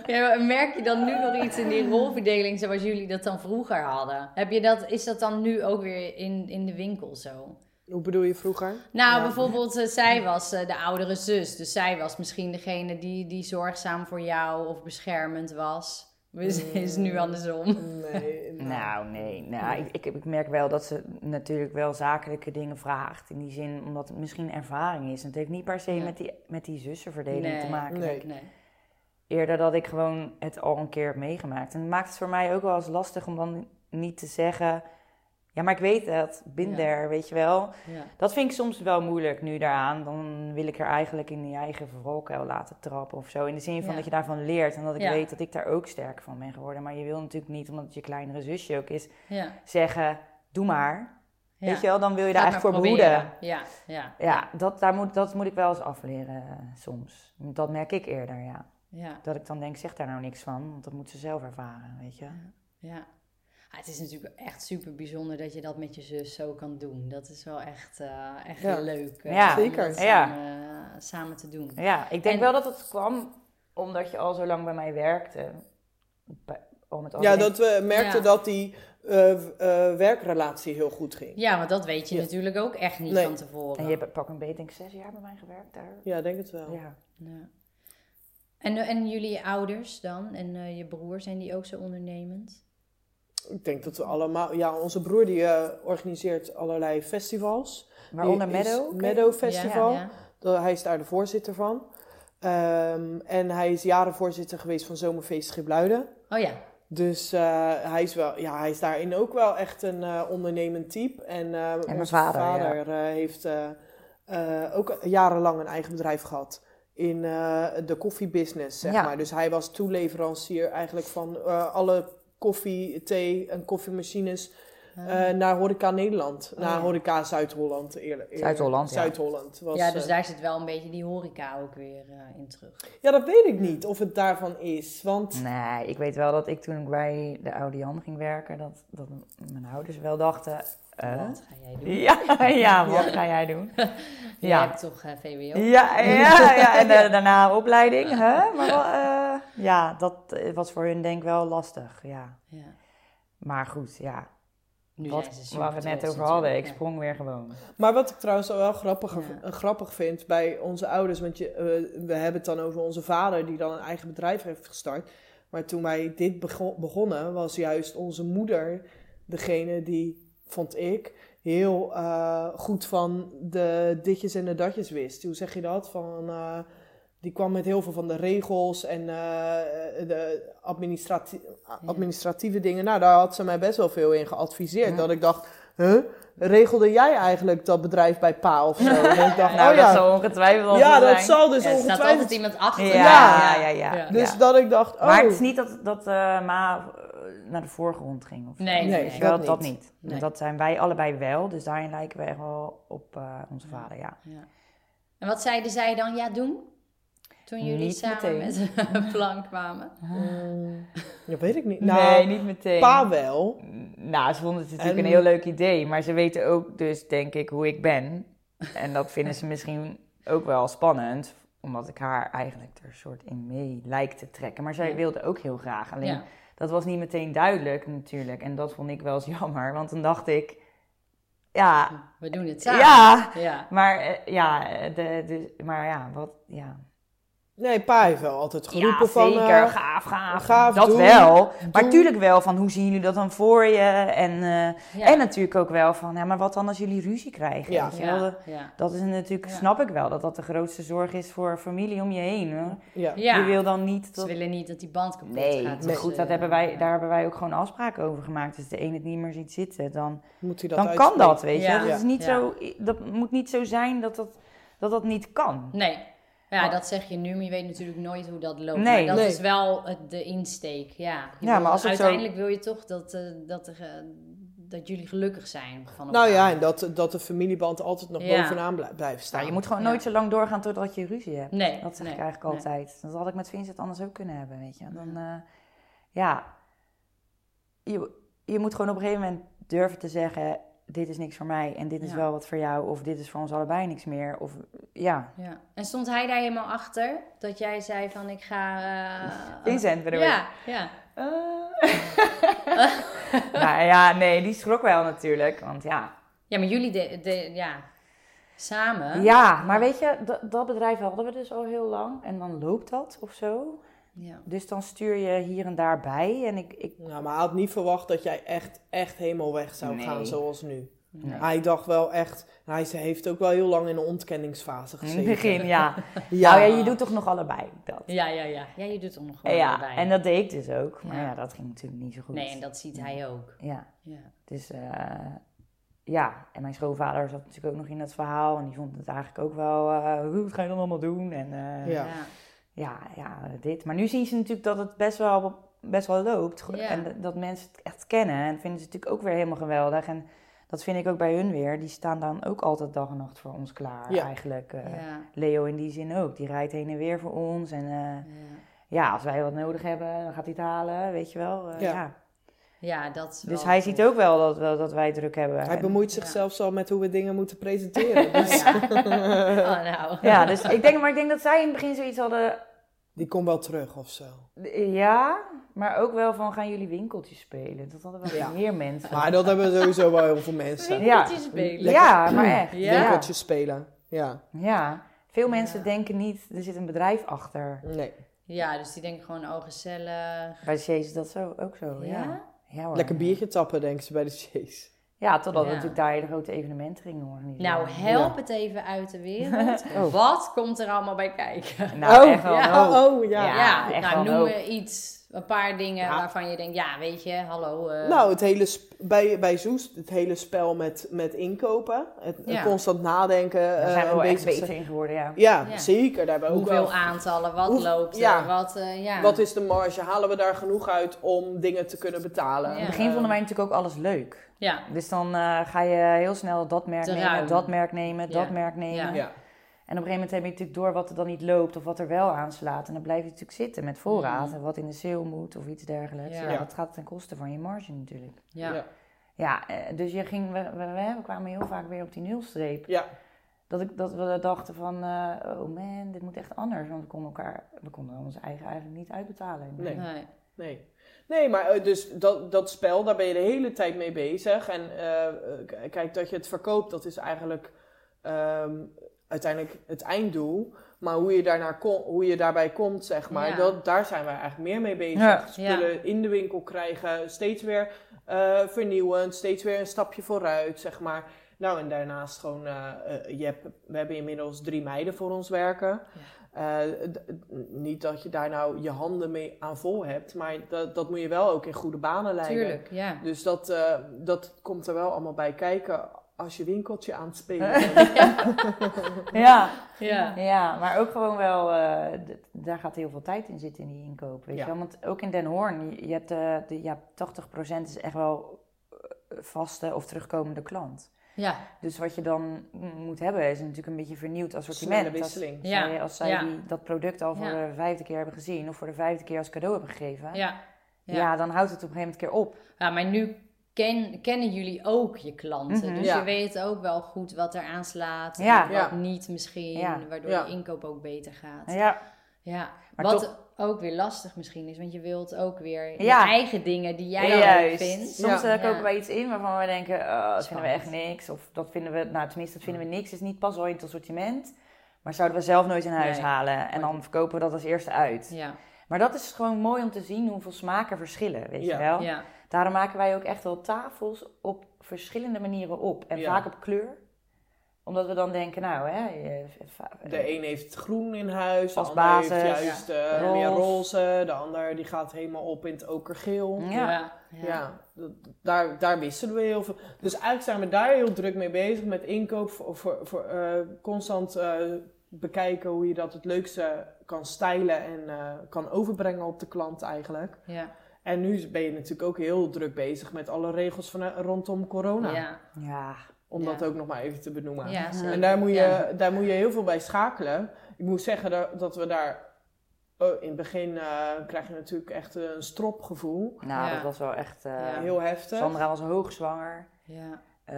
Speaker 1: Ja, maar merk je dan nu nog iets in die rolverdeling zoals jullie dat dan vroeger hadden? Heb je dat, is dat dan nu ook weer in, in de winkel zo?
Speaker 2: hoe bedoel je vroeger?
Speaker 1: Nou,
Speaker 2: Ja.
Speaker 1: bijvoorbeeld, eh, zij was eh, de oudere zus. Dus zij was misschien degene die, die zorgzaam voor jou of beschermend was. Dus
Speaker 3: Mm.
Speaker 1: is nu andersom.
Speaker 2: Nee.
Speaker 3: Nou, nee. Nou, ik, ik, ik merk wel dat ze natuurlijk wel zakelijke dingen vraagt. In die zin, omdat het misschien ervaring is. En het heeft niet per se
Speaker 1: Ja.
Speaker 3: met, die, met die zussenverdeling
Speaker 1: Nee.
Speaker 3: te maken.
Speaker 2: Nee.
Speaker 1: Nee.
Speaker 3: Eerder dat ik gewoon het al een keer heb meegemaakt. En het maakt het voor mij ook wel eens lastig om dan niet te zeggen... Ja, maar ik weet het. Bin
Speaker 1: Ja.
Speaker 3: there, weet je wel.
Speaker 1: Ja.
Speaker 3: Dat vind ik soms wel moeilijk nu daaraan. Dan wil ik er eigenlijk in die eigen verrolkuil laten trappen of zo. In de zin van
Speaker 1: Ja.
Speaker 3: dat je daarvan leert. En dat ik
Speaker 1: Ja.
Speaker 3: weet dat ik daar ook sterk van ben geworden. Maar je wil natuurlijk niet, omdat het je kleinere zusje ook is
Speaker 1: Ja.
Speaker 3: zeggen, doe maar.
Speaker 1: ja.
Speaker 3: Weet je wel, dan wil je
Speaker 1: Ga
Speaker 3: daar
Speaker 1: het
Speaker 3: echt
Speaker 1: maar
Speaker 3: voor
Speaker 1: proberen.
Speaker 3: behoeden.
Speaker 1: Ja, ja,
Speaker 3: Ja, dat, daar moet, dat moet ik wel eens afleren eh, soms. Dat merk ik eerder, ja.
Speaker 1: ja,
Speaker 3: Dat ik dan denk, zeg daar nou niks van, want dat moet ze zelf ervaren, weet je.
Speaker 1: ja. Ah, het is natuurlijk echt super bijzonder dat je dat met je zus zo kan doen. Dat is wel echt, eh, echt
Speaker 2: Ja.
Speaker 1: leuk. eh,
Speaker 3: Ja,
Speaker 1: om
Speaker 2: zeker.
Speaker 1: dat
Speaker 3: Ja.
Speaker 1: Samen, eh, samen te doen.
Speaker 3: Ja, ik denk
Speaker 1: En-
Speaker 3: wel dat het kwam omdat je al zo lang bij mij werkte. Bij- al met al
Speaker 2: Ja,
Speaker 3: die-
Speaker 2: dat we merkten
Speaker 1: Ja.
Speaker 2: dat die eh, eh, werkrelatie heel goed ging.
Speaker 1: Ja, want dat weet je
Speaker 2: Ja.
Speaker 1: natuurlijk ook echt niet
Speaker 2: Nee.
Speaker 1: van tevoren.
Speaker 3: En je hebt pak een beetje denk ik zes jaar bij mij gewerkt daar.
Speaker 2: Ja, denk het wel.
Speaker 3: Ja.
Speaker 1: Ja. En, eh, en jullie ouders dan? En eh, je broer, zijn die ook zo ondernemend?
Speaker 2: Ik denk dat we allemaal... Ja, onze broer die eh, organiseert allerlei festivals.
Speaker 3: Waaronder
Speaker 2: Die is
Speaker 3: Meadow.
Speaker 2: Meadow Festival.
Speaker 1: Ja,
Speaker 2: Dat- Hij is daar de voorzitter van. Ehm, en hij is jaren voorzitter geweest van Zomerfeest Schipluiden.
Speaker 1: Oh ja.
Speaker 2: Dus eh, hij, is wel, ja, hij is daarin ook wel echt een eh, ondernemend type. En, eh,
Speaker 3: mijn
Speaker 2: onze
Speaker 3: vader,
Speaker 2: eh, heeft eh, eh, ook jarenlang een eigen bedrijf gehad. In eh, de koffiebusiness, zeg
Speaker 3: Ja.
Speaker 2: maar. Dus hij was toeleverancier eigenlijk van eh, alle koffie, thee en koffiemachines eh, naar Horeca Nederland.
Speaker 1: Ah. Oh,
Speaker 2: naar
Speaker 1: ja.
Speaker 2: Horeca Zuid-Holland. eerlijk- eerlijk.
Speaker 3: Zuid-Holland, ja.
Speaker 2: Zuid-Holland. was,
Speaker 1: ja, dus
Speaker 2: eh,
Speaker 1: daar zit wel een beetje die horeca ook weer eh, in terug.
Speaker 2: ja, dat weet ik niet of het daarvan is. Want
Speaker 3: Nee, ik weet wel dat ik toen ik bij de oude Jan ging werken, dat, dat mijn ouders wel dachten... eh,
Speaker 1: Wat ga jij doen?
Speaker 3: ja, ja, wat ga jij doen?
Speaker 1: Jij
Speaker 3: ja.
Speaker 1: hebt toch eh, VWO?
Speaker 3: Ja, ja, ja. en eh, daarna een opleiding. Hè? Maar wel, eh, ja, dat eh, was voor hun denk ik wel lastig, ja.
Speaker 1: Ja.
Speaker 3: Maar goed, ja.
Speaker 1: Nu
Speaker 3: Wat,
Speaker 1: zijn ze super
Speaker 3: waar we het net
Speaker 1: trots
Speaker 3: over hadden, ik
Speaker 1: natuurlijk, ja. Oh,
Speaker 3: sprong weer gewoon.
Speaker 2: Maar wat ik trouwens wel grappiger,
Speaker 1: Ja.
Speaker 2: eh, grappig vind bij onze ouders, want je, eh, we hebben het dan over onze vader die dan een eigen bedrijf heeft gestart. Maar toen wij dit bego- begonnen, was juist onze moeder degene die, vond ik, heel eh, goed van de ditjes en de datjes wist. Hoe zeg je dat? Van, eh, die kwam met heel veel van de regels en eh, de administrati- administratieve dingen. Nou, daar had ze mij best wel veel in geadviseerd.
Speaker 3: Ja.
Speaker 2: Dat ik dacht, huh? regelde jij eigenlijk dat bedrijf bij pa of zo? En ik dacht,
Speaker 3: Nou,
Speaker 2: oh
Speaker 3: dat
Speaker 2: ja,
Speaker 3: zal ongetwijfeld al
Speaker 2: ja
Speaker 3: zo
Speaker 2: dat
Speaker 3: zijn.
Speaker 2: zal dus
Speaker 1: Ja, er staat altijd
Speaker 2: ongetwijfeld.
Speaker 1: iemand achter.
Speaker 3: Ja,
Speaker 2: Ja.
Speaker 3: ja, ja. ja,
Speaker 1: Ja.
Speaker 2: Dus
Speaker 3: Ja.
Speaker 2: dat ik dacht, oh,
Speaker 3: Maar het is niet dat, dat eh, Ma eh, naar de voorgrond ging. Of zo.
Speaker 1: Nee, nee,
Speaker 2: Nee,
Speaker 1: nee.
Speaker 2: dat
Speaker 3: dat, dat
Speaker 2: niet.
Speaker 3: niet.
Speaker 1: Nee.
Speaker 3: Dat zijn wij allebei wel, dus daarin lijken we echt wel op eh, onze
Speaker 1: Ja.
Speaker 3: vader, ja.
Speaker 1: Ja. En wat zeiden zij dan ja doen? Toen jullie
Speaker 3: Niet
Speaker 1: samen
Speaker 3: meteen.
Speaker 1: met een plan kwamen.
Speaker 2: mm, dat weet ik niet. Nou,
Speaker 3: niet meteen.
Speaker 2: pa wel.
Speaker 3: Nou, ze vonden het natuurlijk
Speaker 2: En-
Speaker 3: een heel leuk idee, maar ze weten ook dus, denk ik, hoe ik ben. En dat vinden ze misschien ook wel spannend, omdat ik haar eigenlijk er een soort in mee lijkt te trekken. Maar zij
Speaker 1: Ja.
Speaker 3: wilde ook heel graag, alleen
Speaker 1: Ja.
Speaker 3: dat was niet meteen duidelijk natuurlijk. En dat vond ik wel eens jammer, want dan dacht ik, ja,
Speaker 1: We doen het samen.
Speaker 3: ja.
Speaker 1: Ja.
Speaker 3: Maar eh, ja, eh, de, de, maar ja, wat, ja.
Speaker 2: Nee, pa heeft wel altijd geroepen
Speaker 3: ja,
Speaker 2: van...
Speaker 3: zeker,
Speaker 2: eh,
Speaker 3: gaaf, gaaf.
Speaker 2: gaaf,
Speaker 3: dat
Speaker 2: doen,
Speaker 3: wel. Maar
Speaker 2: doen.
Speaker 3: natuurlijk wel van, hoe zien jullie dat dan voor je? En... eh,
Speaker 1: Ja.
Speaker 3: en natuurlijk ook wel van, ja, maar wat dan als jullie ruzie krijgen?
Speaker 2: Ja.
Speaker 3: weet je wel?
Speaker 1: ja. ja.
Speaker 3: Dat is natuurlijk,
Speaker 1: Ja.
Speaker 3: snap ik wel, dat dat de grootste zorg is voor familie om je heen. Hoor.
Speaker 2: ja.
Speaker 1: Ja.
Speaker 3: Je wil dan niet
Speaker 1: Ze
Speaker 3: dat...
Speaker 1: willen niet dat die band kapot
Speaker 3: Nee,
Speaker 1: gaat.
Speaker 3: maar
Speaker 1: Dus,
Speaker 3: goed,
Speaker 1: eh,
Speaker 3: dat hebben wij,
Speaker 1: ja.
Speaker 3: daar hebben wij ook gewoon afspraken over gemaakt. Als de een het niet meer ziet zitten, dan,
Speaker 2: moet hij dat
Speaker 3: dan kan
Speaker 2: uitspreken.
Speaker 3: dat, weet je.
Speaker 1: Ja.
Speaker 3: wel. Dat, is niet
Speaker 1: Ja.
Speaker 3: zo, dat moet niet zo zijn dat dat, dat, dat niet kan.
Speaker 1: Nee. Ja,
Speaker 3: Maar-
Speaker 1: dat zeg je nu, maar je weet natuurlijk nooit hoe dat loopt.
Speaker 3: Oh. Nee.
Speaker 1: maar dat
Speaker 2: Nee.
Speaker 1: is wel het- de insteek, ja. Je
Speaker 3: Ja,
Speaker 1: wil-
Speaker 3: maar als het zo-
Speaker 1: uiteindelijk wil je toch dat, eh, dat, er, eh, dat jullie gelukkig zijn van
Speaker 2: Nou ja,
Speaker 1: elkaar.
Speaker 2: en dat, dat de familieband altijd nog
Speaker 1: Ja.
Speaker 2: bovenaan blij- blijft staan.
Speaker 3: Nou, je moet gewoon
Speaker 1: Ja.
Speaker 3: nooit zo lang doorgaan totdat je ruzie hebt.
Speaker 1: Nee.
Speaker 3: Dat zeg
Speaker 1: nee,
Speaker 3: ik eigenlijk
Speaker 1: nee.
Speaker 3: altijd. Dat had ik met Vincent anders ook kunnen hebben, weet je. Dan, eh, ja, je, je moet gewoon op een gegeven moment durven te zeggen... dit is niks voor mij en dit is
Speaker 1: Ja.
Speaker 3: wel wat voor jou... of dit is voor ons allebei niks meer. Of, ja.
Speaker 1: Ja. En stond hij daar helemaal achter? Dat jij zei van, ik ga... eh,
Speaker 3: Vincent bedoel ik.
Speaker 1: Ja, Oh. ja.
Speaker 3: nou ja, nee, die schrok wel natuurlijk. Want ja,
Speaker 1: Ja, maar jullie de, de, ja, samen.
Speaker 3: ja maar weet je, dat- dat bedrijf hadden we dus al heel lang... en dan loopt dat of zo.
Speaker 1: Ja.
Speaker 3: Dus dan stuur je hier en daar bij. En ik, ik
Speaker 2: Nou, maar hij had niet verwacht dat jij echt, echt helemaal weg zou
Speaker 3: Nee.
Speaker 2: gaan zoals nu.
Speaker 3: Nee.
Speaker 2: Hij dacht wel echt... Hij ze- heeft ook wel heel lang in een ontkenningsfase
Speaker 3: in
Speaker 2: gezeten.
Speaker 3: het begin, ja.
Speaker 2: Ja.
Speaker 3: Nou ja, je doet toch nog allebei dat.
Speaker 1: ja, ja, ja. Ja, je doet er nog
Speaker 3: Ja,
Speaker 1: gewoon bij.
Speaker 3: en dat deed ik dus ook. Maar
Speaker 1: Ja.
Speaker 3: ja. dat ging natuurlijk niet zo goed.
Speaker 1: Nee, en dat ziet hij ook.
Speaker 3: Ja,
Speaker 1: Ja.
Speaker 3: dus eh, ja. En mijn schoonvader zat natuurlijk ook nog in dat verhaal. En die vond het eigenlijk ook wel, eh, hoe wat ga je dan allemaal doen? En eh, ja.
Speaker 2: Ja.
Speaker 3: Ja, dit. Maar nu zien ze natuurlijk dat het best wel, best wel loopt.
Speaker 1: Ja.
Speaker 3: En dat- dat mensen het echt kennen. En dat vinden ze natuurlijk ook weer helemaal geweldig. En dat vind ik ook bij hun weer. Die staan dan ook altijd dag en nacht voor ons klaar
Speaker 2: Ja.
Speaker 3: eigenlijk.
Speaker 1: Ja.
Speaker 3: eh.
Speaker 1: ja.
Speaker 3: Leo in die zin ook. Die rijdt heen en weer voor ons. En eh,
Speaker 1: ja.
Speaker 3: ja, als wij wat nodig hebben, dan gaat hij het halen, weet je wel. eh,
Speaker 2: Ja.
Speaker 3: ja.
Speaker 1: Ja, dat is
Speaker 3: Dus
Speaker 1: wel
Speaker 3: hij
Speaker 1: tof.
Speaker 3: ziet ook wel dat, wel dat wij druk hebben.
Speaker 2: Hij
Speaker 3: En-
Speaker 2: bemoeit
Speaker 1: ja.
Speaker 2: zichzelf zo met hoe we dingen moeten presenteren.
Speaker 1: Oh,
Speaker 2: Dus
Speaker 1: ja. oh, nou.
Speaker 3: ja, dus ik denk, maar ik denk dat zij in het begin zoiets hadden.
Speaker 2: die komt wel terug of zo.
Speaker 3: Ja, maar ook wel van gaan jullie winkeltjes spelen. Dat hadden wel
Speaker 2: Ja.
Speaker 3: meer mensen.
Speaker 2: Maar dat hebben sowieso wel heel veel mensen.
Speaker 1: Ja.
Speaker 3: ja, maar echt.
Speaker 1: Ja.
Speaker 3: ja.
Speaker 2: Winkeltjes spelen. Ja,
Speaker 3: Ja. Veel mensen
Speaker 1: Ja.
Speaker 3: denken niet, er zit een bedrijf achter.
Speaker 2: nee.
Speaker 1: Ja, dus die denken gewoon, oh gezellig.
Speaker 3: Bij Sjees is dat zo, ook zo. Ja, Oh, ja.
Speaker 1: Ja?
Speaker 3: hoor.
Speaker 2: Lekker biertje tappen, denken ze bij de Chase.
Speaker 3: Ja, totdat
Speaker 1: Ja.
Speaker 3: we natuurlijk daar hele grote evenementen gingen organiseren.
Speaker 1: Nou, help het even uit de wereld.
Speaker 3: Oh.
Speaker 1: Wat komt er allemaal bij kijken?
Speaker 3: Nou, echt wel.
Speaker 1: ja.
Speaker 3: een hoop.
Speaker 2: Oh, oh, ja.
Speaker 1: Ja,
Speaker 3: echt
Speaker 1: nou
Speaker 3: wel
Speaker 1: noem
Speaker 3: ook.
Speaker 1: me iets, een paar dingen
Speaker 2: Ja.
Speaker 1: waarvan je denkt, ja weet je, hallo. eh,
Speaker 2: Nou, het hele sp- bij, bij Zoes, het hele spel met, met inkopen. Het, het
Speaker 1: Ja.
Speaker 2: constant nadenken.
Speaker 3: Daar
Speaker 2: eh,
Speaker 3: zijn we
Speaker 2: en
Speaker 3: wel echt
Speaker 2: bezig
Speaker 3: beter
Speaker 2: zijn.
Speaker 3: in geworden, ja.
Speaker 2: Ja,
Speaker 1: Ja.
Speaker 2: zeker. Daar hebben we ook
Speaker 1: hoeveel
Speaker 2: wel...
Speaker 1: aantallen, wat
Speaker 2: Hoe-
Speaker 1: loopt er,
Speaker 2: ja.
Speaker 1: wat, eh, ja.
Speaker 2: Wat is de marge? Halen we daar genoeg uit om dingen te kunnen betalen?
Speaker 1: Ja.
Speaker 3: In het begin vonden wij natuurlijk ook alles leuk.
Speaker 1: ja.
Speaker 3: Dus dan eh, ga je heel snel dat merk
Speaker 1: Te
Speaker 3: nemen,
Speaker 1: ruim.
Speaker 3: dat merk nemen,
Speaker 1: Ja.
Speaker 3: dat merk nemen.
Speaker 1: Ja.
Speaker 2: Ja.
Speaker 3: En op een gegeven moment heb je natuurlijk door wat er dan niet loopt of wat er wel aanslaat. En dan blijf je natuurlijk zitten met voorraad
Speaker 1: Mm.
Speaker 3: en wat in de sale moet of iets dergelijks.
Speaker 1: Ja.
Speaker 3: Ja,
Speaker 2: Ja.
Speaker 3: dat gaat ten koste van je marge natuurlijk.
Speaker 1: Ja.
Speaker 2: Ja.
Speaker 3: Ja, eh, dus je ging, we, we, we- we kwamen heel vaak weer op die nulstreep.
Speaker 2: Ja.
Speaker 3: Dat, ik, dat we dachten van, eh, oh man, dit moet echt anders. Want we konden elkaar, we konden ons eigen eigenlijk niet uitbetalen.
Speaker 2: Nee.
Speaker 1: Nee.
Speaker 2: Nee. Nee, maar eh, dus dat, dat spel, daar ben je de hele tijd mee bezig. En eh, k- kijk, dat je het verkoopt, dat is eigenlijk ehm, uiteindelijk het einddoel. Maar hoe je, daarnaar kom- hoe je daarbij komt, zeg maar,
Speaker 1: Ja.
Speaker 2: dat, daar zijn wij eigenlijk meer mee bezig.
Speaker 3: Ja.
Speaker 2: Spullen in de winkel krijgen, steeds weer eh, vernieuwend, steeds weer een stapje vooruit, zeg maar. Nou, en daarnaast gewoon, eh, eh, je hebt, we hebben inmiddels drie meiden voor ons werken. Eh, d- d- niet dat je daar nou je handen mee aan vol hebt, maar dat, dat moet je wel ook in goede banen leiden.
Speaker 1: Tuurlijk, ja.
Speaker 2: Dus dat, eh, dat komt er wel allemaal bij kijken als je winkeltje aan het spelen bent.
Speaker 3: Ja.
Speaker 1: Ja.
Speaker 3: Ja, maar ook gewoon wel, eh, d- daar gaat heel veel tijd in zitten in die inkoop. Weet
Speaker 2: Ja.
Speaker 3: je wel? Want ook in Den Hoorn, je, je hebt, eh, de, ja, 80% is echt wel eh, vaste of terugkomende klant.
Speaker 1: Ja.
Speaker 3: Dus wat je dan mm, moet hebben is natuurlijk een beetje vernieuwd
Speaker 2: Snelle
Speaker 3: assortiment. Als,
Speaker 2: wisseling.
Speaker 1: Ja,
Speaker 3: zij, als zij
Speaker 1: ja.
Speaker 3: die, dat product al voor
Speaker 1: Ja.
Speaker 3: de vijfde keer hebben gezien of voor de vijfde keer als cadeau hebben gegeven, ja,
Speaker 1: Ja. Ja.
Speaker 3: dan houdt het op een gegeven moment een keer op.
Speaker 1: Ja, maar nu ken, kennen jullie ook je klanten.
Speaker 3: Mhm.
Speaker 1: Dus
Speaker 2: Ja.
Speaker 1: je weet ook wel goed wat er aanslaat.
Speaker 3: Ja.
Speaker 1: En
Speaker 2: Ja.
Speaker 1: wat niet misschien.
Speaker 3: Ja.
Speaker 1: Waardoor
Speaker 2: Ja.
Speaker 1: je inkoop ook beter gaat.
Speaker 3: Ja,
Speaker 1: Ja.
Speaker 3: Maar
Speaker 1: wat ook weer lastig misschien is. Want je wilt ook weer
Speaker 3: Ja.
Speaker 1: je eigen dingen die jij leuk
Speaker 3: juist.
Speaker 1: vindt.
Speaker 3: Soms
Speaker 1: Ja.
Speaker 3: eh, kopen wij iets in waarvan we denken, eh dat vinden we echt
Speaker 1: Spannend.
Speaker 3: niks. Of dat vinden we, nou tenminste, dat vinden we niks. is niet pas wel in het assortiment. Maar zouden we zelf nooit in huis
Speaker 1: Nee.
Speaker 3: halen. En dan verkopen we dat als eerste uit.
Speaker 1: Ja.
Speaker 3: Maar dat is gewoon mooi om te zien hoeveel smaken verschillen, weet
Speaker 2: Ja.
Speaker 3: je wel.
Speaker 1: Ja.
Speaker 3: Daarom maken wij ook echt wel tafels op verschillende manieren op. En
Speaker 2: Ja.
Speaker 3: vaak op kleur. Omdat we dan denken, nou hè, je- va-
Speaker 2: De e- een heeft groen in huis, de
Speaker 3: Als
Speaker 2: ander heeft
Speaker 3: basis.
Speaker 2: juist eh,
Speaker 3: Roze.
Speaker 2: meer roze. De ander die gaat helemaal op in het okergeel.
Speaker 3: Ja.
Speaker 1: Ja.
Speaker 2: Ja, dat- daar, daar wisselen we heel veel. Dus eigenlijk zijn we daar heel druk mee bezig met inkoop. Voor, voor, voor, eh, constant eh, bekijken hoe je dat het leukste kan stylen en eh, kan overbrengen op de klant eigenlijk.
Speaker 1: Ja.
Speaker 2: En nu ben je natuurlijk ook heel druk bezig met alle regels van, eh, rondom corona.
Speaker 1: Ja.
Speaker 3: ja.
Speaker 2: Om dat
Speaker 1: Ja.
Speaker 2: ook nog maar even te benoemen.
Speaker 1: Ja, zeker.
Speaker 2: En daar moet, je,
Speaker 1: Ja.
Speaker 2: daar moet je heel veel bij schakelen. Ik moet zeggen dat, dat we daar... eh, in het begin eh, krijg je natuurlijk echt een stropgevoel.
Speaker 3: Nou,
Speaker 1: Ja.
Speaker 3: dat was wel echt... eh,
Speaker 1: Ja.
Speaker 2: Heel heftig.
Speaker 3: Sandra was hoogzwanger.
Speaker 1: Ja.
Speaker 3: Eh,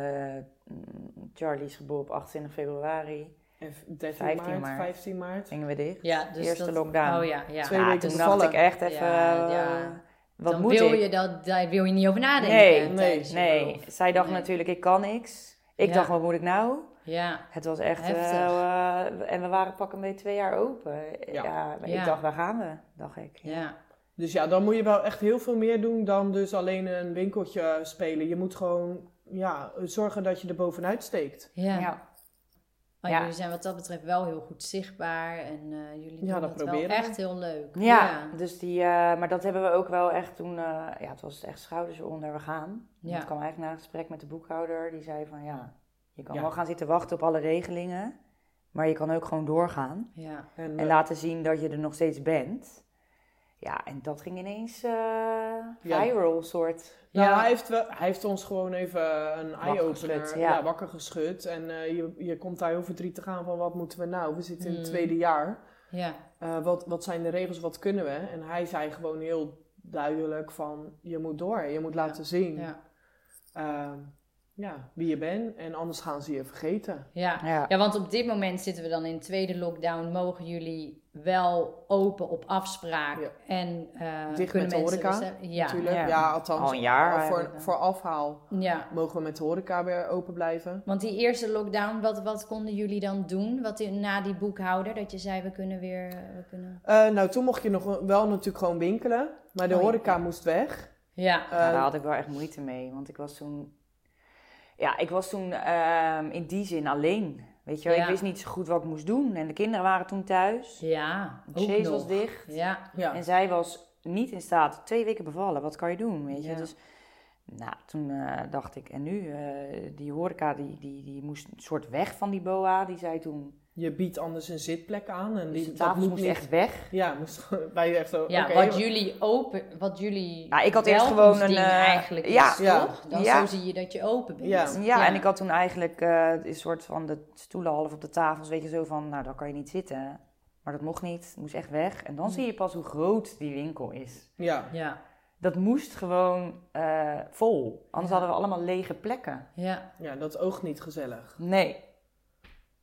Speaker 3: mm, Charlie is geboren op 28 februari.
Speaker 2: En v- 13
Speaker 3: 15
Speaker 2: maart,
Speaker 3: maart.
Speaker 2: 15 maart.
Speaker 3: Gingen we dicht.
Speaker 1: Ja, dus
Speaker 3: Eerste
Speaker 1: dat-
Speaker 3: lockdown.
Speaker 1: Oh ja, ja.
Speaker 2: Twee
Speaker 3: Ja,
Speaker 2: weken
Speaker 3: toen
Speaker 2: bevallen.
Speaker 3: dacht ik echt even,
Speaker 1: Ja,
Speaker 3: eh,
Speaker 1: ja.
Speaker 3: wat
Speaker 1: dan
Speaker 3: moet
Speaker 1: wil
Speaker 3: ik?
Speaker 1: je dat, daar wil je niet over nadenken.
Speaker 3: Nee,
Speaker 2: nee,
Speaker 1: tijdens je
Speaker 3: Nee,
Speaker 1: verlof.
Speaker 3: zij dacht
Speaker 1: Nee.
Speaker 3: natuurlijk, ik kan niks. Ik
Speaker 1: Ja.
Speaker 3: dacht, wat moet ik nou?
Speaker 1: Ja,
Speaker 3: Het was echt... eh,
Speaker 1: Heftig.
Speaker 3: eh, en we waren pak een beetje twee jaar open.
Speaker 2: Ja.
Speaker 3: Ja.
Speaker 1: Ja.
Speaker 3: Ik dacht, waar gaan we? Dacht ik.
Speaker 1: ja,
Speaker 2: Dus ja, dan moet je wel echt heel veel meer doen dan dus alleen een winkeltje spelen. Je moet gewoon ja, zorgen dat je er bovenuit steekt.
Speaker 1: ja.
Speaker 3: Ja.
Speaker 1: Maar
Speaker 3: Ja.
Speaker 1: jullie zijn wat dat betreft wel heel goed zichtbaar en eh, jullie doen
Speaker 2: Ja, dat
Speaker 1: dat, wel
Speaker 2: proberen we.
Speaker 1: echt heel leuk.
Speaker 3: Ja,
Speaker 1: ja.
Speaker 3: dus die, eh, maar dat hebben we ook wel echt toen, eh, ja, het was echt schouders eronder, we gaan.
Speaker 1: Ja.
Speaker 3: Dat kwam eigenlijk na een gesprek met de boekhouder, die zei van ja, je kan
Speaker 2: Ja.
Speaker 3: wel gaan zitten wachten op alle regelingen, maar je kan ook gewoon doorgaan
Speaker 1: Ja.
Speaker 2: En,
Speaker 3: en
Speaker 2: eh,
Speaker 3: laten zien dat je er nog steeds bent. Ja, en dat ging ineens eh
Speaker 2: Ja.
Speaker 3: viral soort.
Speaker 2: nou,
Speaker 1: Ja.
Speaker 2: hij, heeft wel, hij heeft ons gewoon even een eye-opener
Speaker 3: geschud,
Speaker 2: ja.
Speaker 3: ja.
Speaker 2: wakker geschud. En eh, je, je komt daar heel verdrietig aan van wat moeten we nou? We zitten in het
Speaker 1: Hmm.
Speaker 2: tweede jaar.
Speaker 1: Ja.
Speaker 2: Eh, wat, wat zijn de regels? Wat kunnen we? En hij zei gewoon heel duidelijk van je moet door, je moet laten zien
Speaker 1: Ja.
Speaker 2: ehm, ja, wie je bent en anders gaan ze je vergeten.
Speaker 1: Ja.
Speaker 3: Ja.
Speaker 1: ja, want op dit moment zitten we dan in tweede lockdown. Mogen jullie wel open op afspraak?
Speaker 2: Ja.
Speaker 1: En eh
Speaker 2: Dicht
Speaker 1: kunnen
Speaker 2: met de
Speaker 1: mensen
Speaker 2: horeca,
Speaker 1: recept- Ja.
Speaker 2: Natuurlijk,
Speaker 3: ja.
Speaker 2: ja, althans
Speaker 3: Al een jaar
Speaker 2: eh, voor,
Speaker 3: eigenlijk,
Speaker 2: voor afhaal
Speaker 1: ja,
Speaker 2: mogen we met de horeca weer open blijven.
Speaker 1: want die eerste lockdown, wat, wat konden jullie dan doen? Wat in- na die boekhouder, dat je zei we kunnen weer... We kunnen...
Speaker 2: Eh, nou, toen mocht je nog wel natuurlijk gewoon winkelen, maar de
Speaker 1: Oh, ja.
Speaker 2: horeca moest weg.
Speaker 1: Ja,
Speaker 2: Eh,
Speaker 3: Ja, daar had ik wel echt moeite mee, want ik was toen... Ja, ik was toen ehm, in die zin alleen. Weet je wel,
Speaker 1: Ja.
Speaker 3: ik wist niet zo goed wat ik moest doen. En de kinderen waren toen thuis.
Speaker 1: ja,
Speaker 3: De
Speaker 1: ook
Speaker 3: chaise
Speaker 1: nog.
Speaker 3: was dicht.
Speaker 1: Ja,
Speaker 2: ja.
Speaker 3: En zij was niet in staat. Twee weken bevallen, wat kan je doen, weet je?
Speaker 1: Ja.
Speaker 3: Dus nou, toen eh, dacht ik, en nu? eh, die horeca, die, die, die moest een soort weg van die boa. Die zei toen,
Speaker 2: Je biedt anders een zitplek aan en
Speaker 3: dus
Speaker 2: die
Speaker 3: de
Speaker 2: dat
Speaker 3: tafels
Speaker 2: moet
Speaker 3: moest
Speaker 2: niet-
Speaker 3: echt weg.
Speaker 2: Ja, moest bij je echt zo.
Speaker 1: ja
Speaker 2: oké,
Speaker 1: wat jullie open... Wat jullie
Speaker 3: Nou, ik had eerst
Speaker 1: welkomstding
Speaker 3: gewoon een, eh,
Speaker 1: eigenlijk
Speaker 3: ja,
Speaker 1: is,
Speaker 2: ja.
Speaker 1: toch? Dan
Speaker 3: Ja.
Speaker 1: zo zie je dat je open bent.
Speaker 2: Ja.
Speaker 3: Ja, en ik had toen eigenlijk eh, een soort van de stoelen half op de tafels, weet je, zo van, nou, daar kan je niet zitten. Maar dat mocht niet, het moest echt weg. En dan zie je pas hoe groot die winkel is.
Speaker 2: ja.
Speaker 1: Ja,
Speaker 3: Dat moest gewoon eh, vol. Anders hadden we allemaal lege plekken.
Speaker 1: ja.
Speaker 2: ja, dat oogt niet gezellig.
Speaker 3: Nee.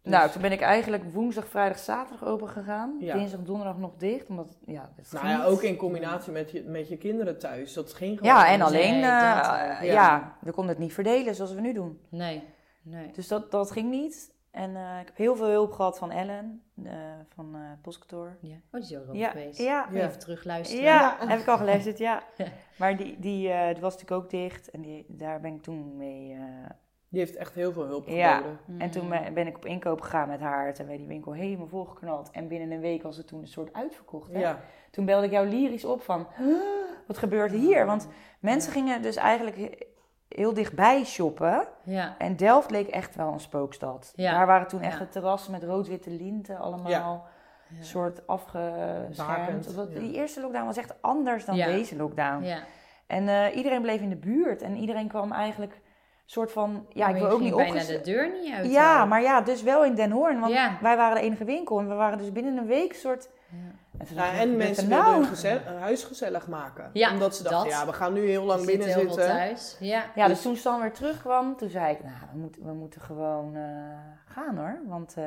Speaker 2: Dus-
Speaker 3: Nou, toen ben ik eigenlijk woensdag, vrijdag, zaterdag open gegaan.
Speaker 2: Ja.
Speaker 3: Dinsdag, donderdag nog dicht. Omdat, ja, dat
Speaker 2: Nou
Speaker 3: ging
Speaker 2: ja,
Speaker 3: niet.
Speaker 2: ook in combinatie met je, met je kinderen thuis. Dat ging gewoon.
Speaker 3: Ja, en
Speaker 2: niet.
Speaker 3: alleen,
Speaker 1: Nee,
Speaker 3: eh,
Speaker 1: dat,
Speaker 3: eh,
Speaker 2: ja.
Speaker 3: ja. we konden het niet verdelen zoals we nu doen.
Speaker 1: Nee, nee.
Speaker 3: Dus dat, dat ging niet. En eh, ik heb heel veel hulp gehad van Ellen, eh, van eh het postkantoor.
Speaker 1: Ja. Oh, die is ook al
Speaker 3: Ja,
Speaker 1: geweest.
Speaker 3: ja,
Speaker 2: Ja.
Speaker 1: Even terugluisteren.
Speaker 3: ja, heb ik al geluisterd, ja.
Speaker 1: Ja.
Speaker 3: Maar die, die, eh, die was natuurlijk ook dicht en die, daar ben ik toen mee... eh,
Speaker 2: Die heeft echt heel veel hulp
Speaker 3: Ja.
Speaker 2: geboden.
Speaker 1: Mm.
Speaker 3: En toen eh, ben ben ik op inkoop gegaan met haar. Toen werd die winkel helemaal volgeknald. En binnen een week was het toen een soort uitverkocht.
Speaker 2: Ja.
Speaker 3: Hè? Toen belde ik jou lyrisch op van, "Huh, wat gebeurt hier? Want mensen gingen dus eigenlijk he- heel dichtbij shoppen.
Speaker 1: Ja,
Speaker 3: En Delft leek echt wel een spookstad.
Speaker 1: Ja.
Speaker 3: Daar waren toen echt
Speaker 1: Ja.
Speaker 3: de terrassen met rood-witte linten allemaal.
Speaker 1: Ja.
Speaker 3: Een soort afgeschermd.
Speaker 2: Bakend,
Speaker 3: Omdat
Speaker 2: ja.
Speaker 3: Die eerste lockdown was echt anders dan
Speaker 1: Ja.
Speaker 3: deze lockdown.
Speaker 1: ja.
Speaker 3: En eh, iedereen bleef in de buurt. En iedereen kwam eigenlijk soort van... Ja,
Speaker 1: Maar je
Speaker 3: ik wil ook
Speaker 1: ging
Speaker 3: niet
Speaker 1: bijna
Speaker 3: opges-
Speaker 1: de deur niet uit.
Speaker 3: ja,
Speaker 1: hoor.
Speaker 3: maar ja, dus wel in Den Hoorn. Want
Speaker 1: Ja.
Speaker 3: wij waren de enige winkel. En we waren dus binnen een week soort...
Speaker 1: Ja.
Speaker 3: En,
Speaker 2: Nou,
Speaker 3: toen dacht ik,
Speaker 2: en
Speaker 3: wat
Speaker 2: mensen
Speaker 3: gebeurt er nou?
Speaker 2: wilden hun geze- hun huis gezellig maken.
Speaker 1: Ja,
Speaker 2: Omdat ze dachten,
Speaker 1: dat.
Speaker 2: ja, we gaan nu heel lang
Speaker 1: Je zit
Speaker 2: binnen
Speaker 1: heel veel
Speaker 2: zitten.
Speaker 1: thuis. Ja.
Speaker 3: Ja, dus toen Stan weer terugkwam, toen zei ik... Nou, we moeten, we moeten gewoon eh, gaan hoor. Want eh,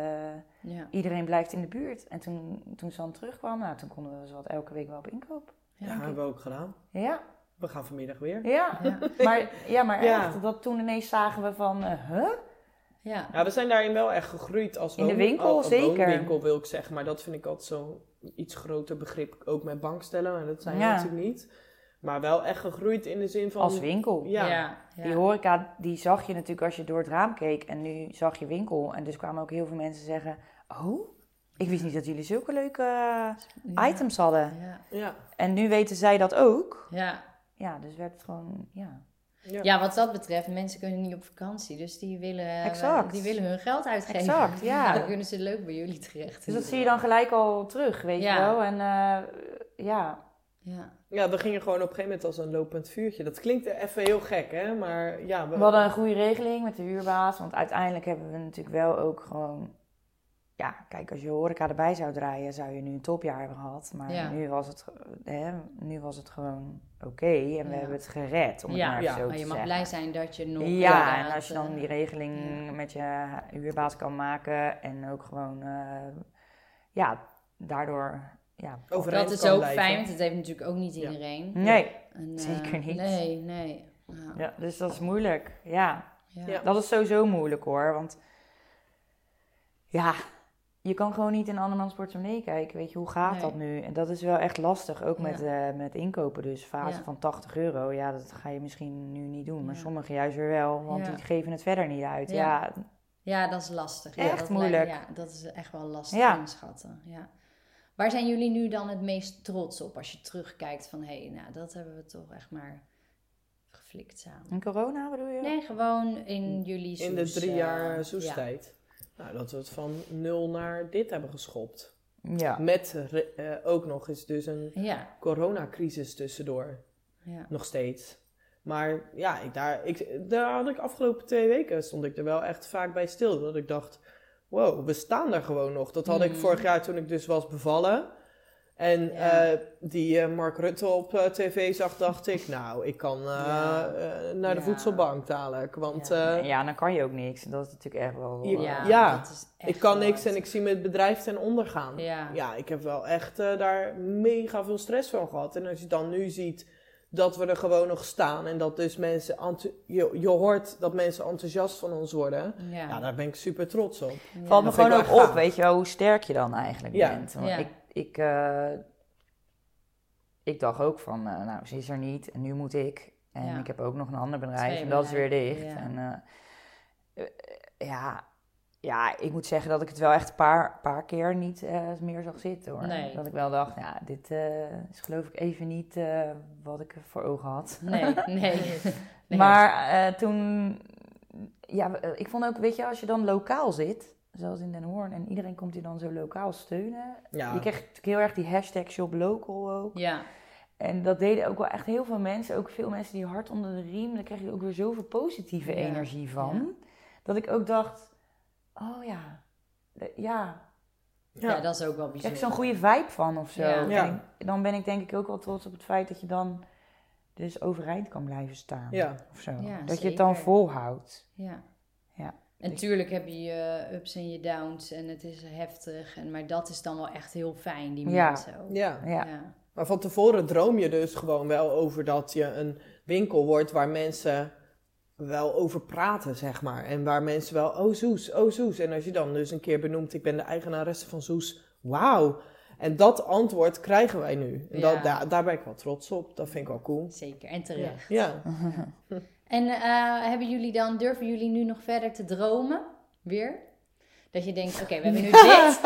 Speaker 1: Ja.
Speaker 3: iedereen blijft in de buurt. En toen, toen Stan terugkwam, nou, toen konden we zowat elke week wel op inkoop.
Speaker 2: Ja, hebben we ook gedaan.
Speaker 3: Ja,
Speaker 2: We gaan vanmiddag weer.
Speaker 3: ja.
Speaker 1: Ja.
Speaker 3: Maar, ja, maar
Speaker 2: Ja.
Speaker 3: echt, dat toen ineens zagen we van... eh, huh?
Speaker 1: Ja.
Speaker 2: Ja, we zijn daarin wel echt gegroeid als
Speaker 3: In de
Speaker 2: woon-
Speaker 3: winkel,
Speaker 2: als
Speaker 3: zeker.
Speaker 2: woonwinkel wil ik zeggen. Maar dat vind ik altijd zo'n iets groter begrip. Ook met bankstellen, maar dat zijn we
Speaker 3: Ja.
Speaker 2: natuurlijk niet. Maar wel echt gegroeid in de zin van...
Speaker 3: Als winkel.
Speaker 2: Ja.
Speaker 1: Ja. Ja.
Speaker 3: Die horeca, die zag je natuurlijk als je door het raam keek. En nu zag je winkel. En dus kwamen ook heel veel mensen zeggen... Oh, ik wist niet dat jullie zulke leuke eh,
Speaker 1: Ja.
Speaker 3: items hadden.
Speaker 1: Ja.
Speaker 2: Ja.
Speaker 3: En nu weten zij dat ook.
Speaker 1: Ja.
Speaker 3: Ja, dus werd het gewoon... Ja,
Speaker 2: Ja.
Speaker 1: ja, wat dat betreft, mensen kunnen niet op vakantie. Dus die willen,
Speaker 3: Exact.
Speaker 1: Die willen hun geld uitgeven.
Speaker 3: exact.
Speaker 1: Dan
Speaker 3: Ja.
Speaker 1: kunnen ze leuk bij jullie terecht.
Speaker 3: Dus dat zie je dan gelijk al terug, weet
Speaker 1: Ja.
Speaker 3: je wel. En eh, ja,
Speaker 1: Ja.
Speaker 2: Ja, we gingen gewoon op een gegeven moment als een lopend vuurtje. Dat klinkt even heel gek, hè? Maar ja, we,
Speaker 3: we hadden een goede regeling met de huurbaas. Want uiteindelijk hebben we natuurlijk wel ook gewoon... Ja, kijk, als je horeca erbij zou draaien, zou je nu een topjaar hebben gehad. Maar
Speaker 1: Ja.
Speaker 3: nu, was het, ge- hè, nu was het gewoon oké. en we
Speaker 1: Ja.
Speaker 3: hebben het gered, om het
Speaker 1: Ja.
Speaker 3: maar
Speaker 2: Ja.
Speaker 3: even zo
Speaker 1: Maar
Speaker 3: te
Speaker 1: je mag
Speaker 3: zeggen.
Speaker 1: blij zijn dat je nog...
Speaker 3: Ja, en
Speaker 1: inderdaad,
Speaker 3: als je dan
Speaker 1: eh,
Speaker 3: die regeling met je huurbaas kan maken en ook gewoon, eh, ja, daardoor, ja.
Speaker 2: overeind
Speaker 1: Dat is
Speaker 2: kan
Speaker 1: ook
Speaker 2: blijven.
Speaker 1: fijn, want dat heeft natuurlijk ook niet
Speaker 2: Ja.
Speaker 1: iedereen.
Speaker 3: Nee,
Speaker 1: En, eh,
Speaker 3: Zeker niet.
Speaker 1: Nee, nee. Ja.
Speaker 3: ja, dus dat is moeilijk. Ja,
Speaker 1: Ja.
Speaker 2: Ja.
Speaker 3: dat is sowieso moeilijk hoor, want ja, je kan gewoon niet in andermans portemonnee kijken, weet je, hoe gaat
Speaker 1: Nee.
Speaker 3: dat nu? En dat is wel echt lastig, ook
Speaker 1: Ja.
Speaker 3: met, eh, met inkopen dus, fase
Speaker 1: Ja.
Speaker 3: van 80 euro, ja, dat ga je misschien nu niet doen, maar
Speaker 1: Ja.
Speaker 3: sommigen juist weer wel, want
Speaker 1: Ja.
Speaker 3: die geven het verder niet uit.
Speaker 1: Ja.
Speaker 3: ja
Speaker 1: Ja, dat is lastig. ja,
Speaker 3: Echt
Speaker 1: dat
Speaker 3: moeilijk.
Speaker 1: lijkt- ja, dat is echt wel lastig
Speaker 3: Ja.
Speaker 1: inschatten. Ja. Waar zijn jullie nu dan het meest trots op als je terugkijkt van hé, nou dat hebben we toch echt maar geflikt samen?
Speaker 3: in corona bedoel je?
Speaker 1: Nee, gewoon in jullie
Speaker 2: In de
Speaker 1: Soes,
Speaker 2: drie
Speaker 1: eh,
Speaker 2: jaar
Speaker 1: ja.
Speaker 2: zoestijd. Nou, dat we het van nul naar dit hebben geschopt.
Speaker 3: Ja.
Speaker 2: Met re- eh, ook nog eens dus een
Speaker 1: Ja,
Speaker 2: coronacrisis tussendoor.
Speaker 1: ja,
Speaker 2: Nog steeds. Maar ja, ik, daar, ik, daar had ik afgelopen twee weken stond ik er wel echt vaak bij stil. Dat ik dacht, wow, we staan daar gewoon nog. Dat had ik
Speaker 1: Mm.
Speaker 2: vorig jaar toen ik dus was bevallen. En
Speaker 1: Ja.
Speaker 2: eh, die eh, Mark Rutte op eh, tv zag, dacht ik, nou, ik kan eh,
Speaker 1: Ja.
Speaker 2: eh, naar de
Speaker 1: Ja.
Speaker 2: voedselbank dadelijk. Want
Speaker 1: Ja.
Speaker 2: eh,
Speaker 3: Ja, dan kan je ook niks. Dat is natuurlijk echt wel...
Speaker 2: Je-
Speaker 3: eh,
Speaker 1: Ja,
Speaker 2: Ja,
Speaker 1: dat is echt
Speaker 2: ik kan niks
Speaker 1: hard.
Speaker 2: en ik zie mijn bedrijf ten onder gaan.
Speaker 1: Ja.
Speaker 2: Ja, ik heb wel echt eh, daar mega veel stress van gehad. En als je dan nu ziet dat we er gewoon nog staan en dat dus mensen, enth- je, je hoort dat mensen enthousiast van ons worden.
Speaker 1: Ja.
Speaker 2: Ja, daar ben ik super trots op.
Speaker 1: Ja.
Speaker 3: Valt me
Speaker 2: Dat vind
Speaker 3: gewoon
Speaker 2: ik
Speaker 3: ook
Speaker 2: wel
Speaker 3: op,
Speaker 2: gaaf.
Speaker 3: weet je wel, hoe sterk je dan eigenlijk
Speaker 2: Ja.
Speaker 3: bent. Want
Speaker 1: Ja.
Speaker 3: Ik, ik, eh, ik dacht ook van, eh, nou, ze is er niet en nu moet ik. En
Speaker 1: Ja.
Speaker 3: ik heb ook nog een ander bedrijf
Speaker 1: Twee
Speaker 3: en dat is weer
Speaker 1: bedrijven,
Speaker 3: dicht.
Speaker 1: ja.
Speaker 3: En eh, eh, ja, ja, ik moet zeggen dat ik het wel echt een paar, paar keer niet eh, meer zag zitten hoor.
Speaker 1: Nee.
Speaker 3: Dat ik wel dacht, ja, dit eh, is geloof ik even niet eh, wat ik voor ogen had.
Speaker 1: Nee, nee. Nee.
Speaker 3: Maar eh, toen, ja, we- eh, ik vond ook, weet je, als je dan lokaal zit, zoals in Den Hoorn, en iedereen komt je dan zo lokaal steunen.
Speaker 2: Ja,
Speaker 3: Je kreeg natuurlijk heel erg die hashtag shop local ook.
Speaker 1: Ja,
Speaker 3: En dat deden ook wel echt heel veel mensen, ook veel mensen die hard onder de riem, daar kreeg je ook weer zoveel positieve
Speaker 1: Ja,
Speaker 3: energie van. Dat ik ook dacht, oh ja, de- ja,
Speaker 1: ja.
Speaker 2: Ja.
Speaker 1: dat is ook wel
Speaker 3: ik krijg
Speaker 1: bijzonder.
Speaker 3: zo'n goede vibe van of zo.
Speaker 1: Ja.
Speaker 2: Ja.
Speaker 3: En ik- dan ben ik denk ik ook wel trots op het feit dat je dan dus overeind kan blijven staan.
Speaker 2: Ja.
Speaker 3: Of zo.
Speaker 1: Ja,
Speaker 3: dat je het dan
Speaker 1: zeker.
Speaker 3: volhoudt.
Speaker 1: Ja.
Speaker 3: Ja.
Speaker 1: En tuurlijk heb je je ups en je downs en het is heftig. En, maar dat is dan wel echt heel fijn, die
Speaker 3: Ja.
Speaker 1: mensen ook.
Speaker 2: ja.
Speaker 3: Ja.
Speaker 1: Ja.
Speaker 2: Maar van tevoren droom je dus gewoon wel over dat je een winkel wordt waar mensen wel over praten, zeg maar. En waar mensen wel, oh Soes, oh Soes. En als je dan dus een keer benoemt, ik ben de eigenaresse van Soes, wauw. En dat antwoord krijgen wij nu. En dat,
Speaker 1: Ja.
Speaker 2: daar- daar ben ik wel trots op. Dat vind ik wel cool.
Speaker 1: Zeker, en terecht.
Speaker 2: Ja.
Speaker 1: En eh, hebben jullie dan, durven jullie nu nog verder te dromen? Weer? Dat je denkt, oké, we hebben nu dit.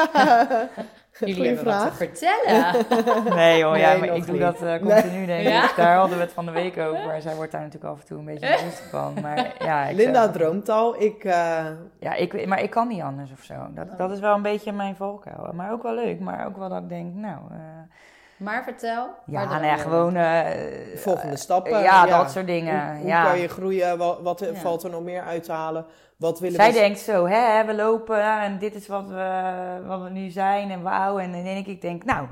Speaker 1: Jullie
Speaker 2: Goeie
Speaker 1: hebben wat
Speaker 2: vraag.
Speaker 1: te vertellen.
Speaker 3: Nee hoor, ja,
Speaker 2: Nee,
Speaker 3: maar
Speaker 2: nog
Speaker 3: ik doe
Speaker 2: niet.
Speaker 3: dat eh,
Speaker 2: Nee.
Speaker 3: continu denk ik.
Speaker 1: Ja?
Speaker 3: Dus daar hadden we het van de week over. Zij wordt daar natuurlijk af en toe een beetje rustig van. Maar, ja, ik
Speaker 2: Linda
Speaker 3: zou-
Speaker 2: droomt al. Ik, eh,
Speaker 3: Ja, ik, maar ik kan niet anders of zo.
Speaker 2: Oh.
Speaker 3: Dat, dat is wel een beetje mijn valkuil. Maar ook wel leuk. Maar ook wel dat ik denk, nou... eh,
Speaker 1: Maar vertel. waar
Speaker 3: ja,
Speaker 1: droom
Speaker 3: nou
Speaker 1: je
Speaker 3: ja,
Speaker 1: van?
Speaker 3: gewoon... eh,
Speaker 2: volgende stappen.
Speaker 3: ja, dat soort dingen.
Speaker 2: Hoe, hoe
Speaker 3: ja.
Speaker 2: kan je groeien? Wat, wat
Speaker 1: Ja.
Speaker 2: valt er nog meer uit te halen? Wat willen
Speaker 3: Zij
Speaker 2: we...
Speaker 3: denkt zo, hè, we lopen en dit is wat we, wat we nu zijn en wauw. En dan denk ik, denk, nou,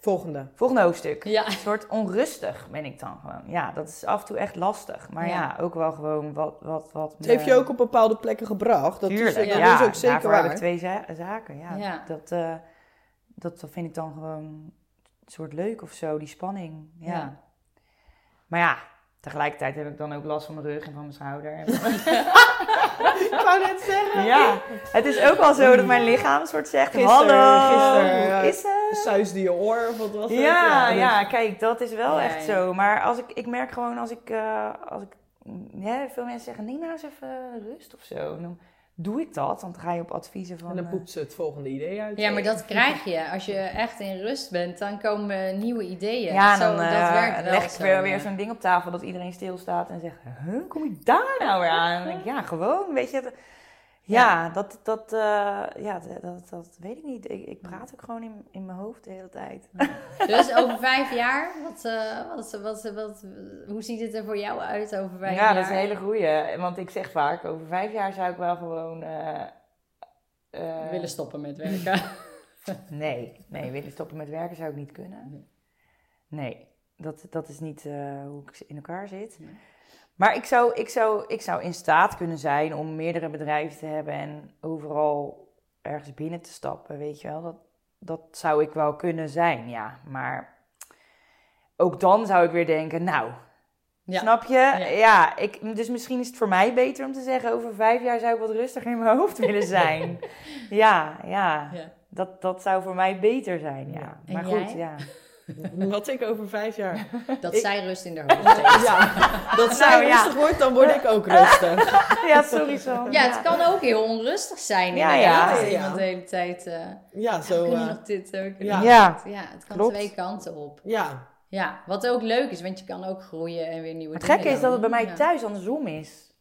Speaker 2: Volgende.
Speaker 3: volgende hoofdstuk.
Speaker 1: Ja.
Speaker 3: Een soort onrustig ben ik dan gewoon. Ja, dat is af en toe echt lastig. Maar ja,
Speaker 1: Ja.
Speaker 3: ook wel gewoon wat... wat, wat
Speaker 2: Het
Speaker 3: me-
Speaker 2: heeft je ook op bepaalde plekken gebracht. Dat is,
Speaker 3: Tuurlijk,
Speaker 2: dat
Speaker 3: ja.
Speaker 2: is ook zeker
Speaker 3: daarvoor heb ik
Speaker 2: waar.
Speaker 3: twee za- zaken, ja.
Speaker 1: Ja.
Speaker 3: Dat, eh, dat, dat vind ik dan gewoon een soort leuk of zo, die spanning. Ja.
Speaker 1: Ja.
Speaker 3: Maar ja, tegelijkertijd heb ik dan ook last van mijn rug en van mijn schouder. En van-
Speaker 2: Ik wou net zeggen.
Speaker 3: ja, het is ook wel zo dat mijn lichaam een soort zegt,
Speaker 2: Gisteren,
Speaker 3: hallo,
Speaker 2: gisteren, ja.
Speaker 3: hoe is het?
Speaker 2: Suisde je oor of wat was het?
Speaker 3: Ja,
Speaker 2: dus-
Speaker 3: ja, kijk, dat is wel
Speaker 1: Ja,
Speaker 3: echt
Speaker 1: ja.
Speaker 3: zo. Maar als ik, ik merk gewoon als ik, eh, als ik hè, veel mensen zeggen, neem nou eens even rust of zo. En dan doe ik dat, want dan ga je op adviezen van...
Speaker 2: En dan
Speaker 3: eh,
Speaker 2: poept ze het volgende idee uit.
Speaker 1: Ja, maar dat krijg je. Als je echt in rust bent, dan komen nieuwe ideeën.
Speaker 3: ja,
Speaker 1: zo,
Speaker 3: dan eh,
Speaker 1: dat werkt wel
Speaker 3: leg ik
Speaker 1: zo,
Speaker 3: weer,
Speaker 1: ja.
Speaker 3: weer zo'n ding op tafel dat iedereen stilstaat en zegt, huh, kom je daar nou weer aan? En dan denk ik, ja, gewoon, weet je. dat- ja, dat, dat, eh, ja dat, dat, dat weet ik niet. Ik, ik praat ook gewoon in, in mijn hoofd de hele tijd.
Speaker 1: Dus over vijf jaar, wat, eh, wat, wat, wat, hoe ziet het er voor jou uit over vijf
Speaker 3: ja,
Speaker 1: jaar?
Speaker 3: dat is een hele goeie. Want ik zeg vaak, over vijf jaar zou ik wel gewoon... eh, eh,
Speaker 1: willen stoppen met werken.
Speaker 3: Nee, nee, willen stoppen met werken zou ik niet kunnen. Nee, dat, dat is niet eh, hoe ik in elkaar zit.
Speaker 1: Nee.
Speaker 3: Maar ik zou, ik, zou, ik zou in staat kunnen zijn om meerdere bedrijven te hebben en overal ergens binnen te stappen, weet je wel. Dat, dat zou ik wel kunnen zijn, ja. Maar ook dan zou ik weer denken, nou,
Speaker 1: Ja.
Speaker 3: snap je?
Speaker 1: Ja.
Speaker 3: Ja, ik, dus misschien is het voor mij beter om te zeggen, over vijf jaar zou ik wat rustiger in mijn hoofd willen zijn. ja, ja.
Speaker 1: Ja.
Speaker 3: Dat, dat zou voor mij beter zijn, ja.
Speaker 1: En
Speaker 3: Maar goed,
Speaker 1: jij?
Speaker 3: ja.
Speaker 2: Wat ik over vijf jaar.
Speaker 1: Dat
Speaker 2: Ik-
Speaker 1: zij rust in de hoofd heeft.
Speaker 2: Ja, dat zij
Speaker 3: Nou, ja.
Speaker 2: rustig wordt, dan word ik ook rustig.
Speaker 3: ja, sorry Sam.
Speaker 1: Ja, het kan ook heel onrustig zijn
Speaker 3: Ja,
Speaker 1: inderdaad.
Speaker 3: ja.
Speaker 1: Als
Speaker 2: Ja, ja.
Speaker 1: iemand de hele tijd... eh,
Speaker 2: Ja, zo.
Speaker 1: kunnen we
Speaker 2: eh,
Speaker 1: nog dit, eh, kunnen we
Speaker 2: ja.
Speaker 1: nog
Speaker 3: Ja.
Speaker 1: dit? Ja, het kan
Speaker 3: Klopt.
Speaker 1: twee kanten op.
Speaker 2: ja.
Speaker 1: Ja, wat ook leuk is, want je kan ook groeien en weer nieuwe
Speaker 3: Het
Speaker 1: dingen
Speaker 3: gekke is
Speaker 1: doen.
Speaker 3: dat het bij mij
Speaker 1: Ja.
Speaker 3: thuis andersom is.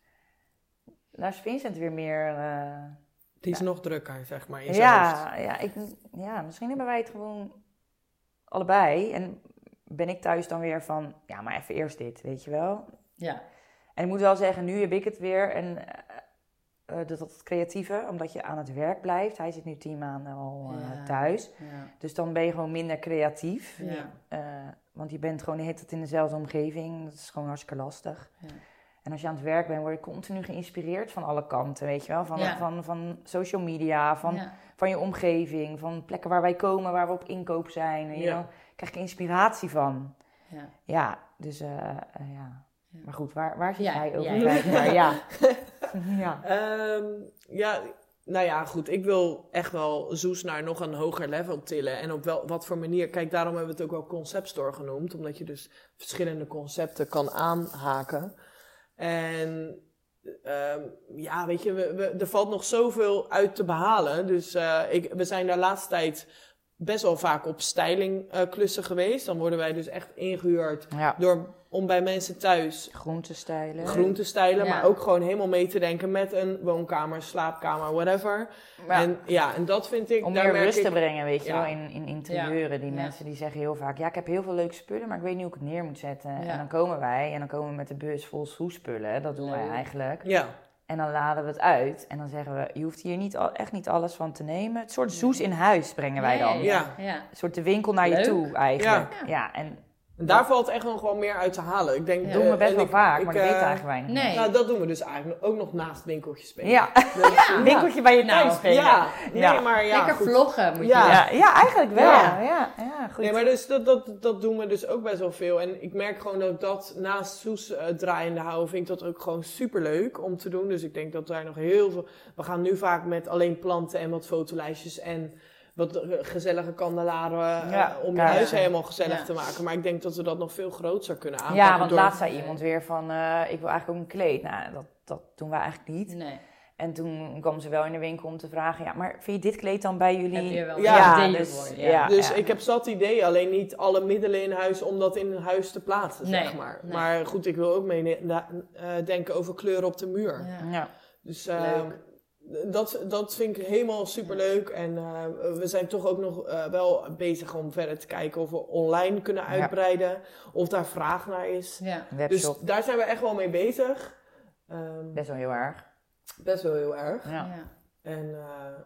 Speaker 3: Daar is Vincent weer meer... eh,
Speaker 2: Die is nog drukker, zeg maar. In zijn hoofd.
Speaker 3: ja, ja, ik, ja, misschien hebben wij het gewoon allebei. En ben ik thuis dan weer van, ja, maar even eerst dit, weet je wel.
Speaker 1: Ja,
Speaker 3: En ik moet wel zeggen, nu heb ik het weer. En eh, eh, dat, dat creatieve, omdat je aan het werk blijft. Hij zit nu tien maanden al eh,
Speaker 1: Ja.
Speaker 3: thuis.
Speaker 1: Ja.
Speaker 3: Dus dan ben je gewoon minder creatief.
Speaker 1: Ja.
Speaker 3: Eh, want je bent gewoon de hele tijd in dezelfde omgeving. Dat is gewoon hartstikke lastig.
Speaker 1: Ja.
Speaker 3: En als je aan het werk bent, word je continu geïnspireerd van alle kanten, weet je wel? Van,
Speaker 1: Ja.
Speaker 3: van, van social media, van,
Speaker 1: Ja.
Speaker 3: van je omgeving, van plekken waar wij komen, waar we op inkoop zijn. En je
Speaker 2: Ja.
Speaker 3: dan krijg je inspiratie van.
Speaker 1: Ja.
Speaker 3: Ja, dus eh, eh, ja.
Speaker 1: Ja.
Speaker 3: Maar goed, waar, waar zit
Speaker 1: Ja,
Speaker 3: jij over
Speaker 1: jij.
Speaker 3: vijf jaar? Ja. ja.
Speaker 2: Ehm, ja, nou ja, goed. Ik wil echt wel Zoes naar nog een hoger level tillen. En op wel, wat voor manier. Kijk, daarom hebben we het ook wel concept store genoemd. Omdat je dus verschillende concepten kan aanhaken. En ehm, ja, weet je, we, we- er valt nog zoveel uit te behalen. Dus eh, ik, we zijn daar laatste tijd best wel vaak op styling eh, klussen geweest. Dan worden wij dus echt ingehuurd
Speaker 3: ja.
Speaker 2: door, om bij mensen thuis
Speaker 3: Groentestijlen.
Speaker 2: groente stijlen,
Speaker 1: Ja.
Speaker 2: maar ook gewoon helemaal mee te denken met een woonkamer, slaapkamer, whatever.
Speaker 3: Ja.
Speaker 2: En ja, en dat vind ik.
Speaker 3: Om
Speaker 2: daar
Speaker 3: meer
Speaker 2: merk
Speaker 3: rust
Speaker 2: ik,
Speaker 3: te brengen, weet je
Speaker 2: Ja.
Speaker 3: wel, in, in interieuren. Die
Speaker 1: Ja.
Speaker 3: mensen die zeggen heel vaak, ja, ik heb heel veel leuke spullen, maar ik weet niet hoe ik het neer moet zetten.
Speaker 1: Ja.
Speaker 3: En dan komen wij en dan komen we met de bus vol soespullen, dat doen wij
Speaker 1: Leuk.
Speaker 3: eigenlijk.
Speaker 2: Ja,
Speaker 3: En dan laden we het uit en dan zeggen we, je hoeft hier niet, al- echt niet alles van te nemen. Het soort soes in huis brengen wij dan.
Speaker 1: Nee,
Speaker 2: Ja.
Speaker 1: ja.
Speaker 3: Een soort de winkel naar je
Speaker 1: Leuk.
Speaker 3: toe eigenlijk.
Speaker 1: Ja.
Speaker 3: Ja, en
Speaker 2: en daar valt echt nog wel meer uit te halen. Ik denk,
Speaker 1: Ja.
Speaker 3: dat doen
Speaker 2: eh,
Speaker 3: we best
Speaker 2: en
Speaker 3: wel
Speaker 2: ik-
Speaker 3: vaak,
Speaker 2: ik,
Speaker 3: maar dat
Speaker 2: eh,
Speaker 3: weten eigenlijk weinig.
Speaker 1: nee.
Speaker 3: mensen.
Speaker 2: Nou, dat doen we dus eigenlijk ook nog naast winkeltjes spelen.
Speaker 3: Ja,
Speaker 2: Dus, ja.
Speaker 3: winkeltje bij je
Speaker 1: Nou,
Speaker 3: thuis
Speaker 2: Ja,
Speaker 3: spelen.
Speaker 2: nee,
Speaker 3: Ja.
Speaker 2: maar ja.
Speaker 1: Lekker
Speaker 2: goed.
Speaker 1: vloggen moet je
Speaker 2: Ja.
Speaker 1: doen.
Speaker 3: Ja, ja, eigenlijk wel.
Speaker 1: Ja.
Speaker 3: Ja, ja, goed.
Speaker 2: Nee, maar dus, dat, dat, dat doen we dus ook best wel veel. En ik merk gewoon dat ik dat naast Soes eh, draaiende houden, vind ik dat ook gewoon super leuk om te doen. Dus ik denk dat daar nog heel veel. We gaan nu vaak met alleen planten en wat fotolijstjes en wat eh, gezellige kandelaren eh,
Speaker 3: Ja,
Speaker 2: om je
Speaker 3: ja.
Speaker 2: huis helemaal gezellig
Speaker 1: Ja.
Speaker 2: te maken. Maar ik denk dat we dat nog veel groter kunnen aanpakken.
Speaker 3: Ja, want
Speaker 2: door-
Speaker 3: laatst zei iemand weer van, eh, ik wil eigenlijk ook een kleed. Nou, dat, dat doen we eigenlijk niet.
Speaker 1: Nee.
Speaker 3: En toen kwam ze wel in de winkel om te vragen, ja, maar vind je dit kleed dan bij jullie?
Speaker 1: Heb je wel
Speaker 2: Ja,
Speaker 1: ideeën
Speaker 3: dus,
Speaker 1: voor, ja.
Speaker 3: ja. ja.
Speaker 2: Dus ik heb zat idee, alleen niet alle middelen in huis om dat in huis te plaatsen,
Speaker 1: Nee,
Speaker 2: zeg maar.
Speaker 1: nee.
Speaker 2: Maar goed, ik wil ook meedenken eh, denken over kleuren op de muur.
Speaker 1: Ja.
Speaker 3: Ja.
Speaker 2: Dus ehm, dat, dat vind ik helemaal superleuk. En eh, we zijn toch ook nog eh, wel bezig om verder te kijken of we online kunnen
Speaker 3: Ja.
Speaker 2: uitbreiden. Of daar vraag naar is.
Speaker 1: Ja.
Speaker 2: Dus
Speaker 3: webshop,
Speaker 2: daar zijn we echt wel mee bezig. Ehm,
Speaker 3: best wel heel erg.
Speaker 2: best wel heel erg.
Speaker 3: Ja.
Speaker 1: Ja.
Speaker 2: En eh,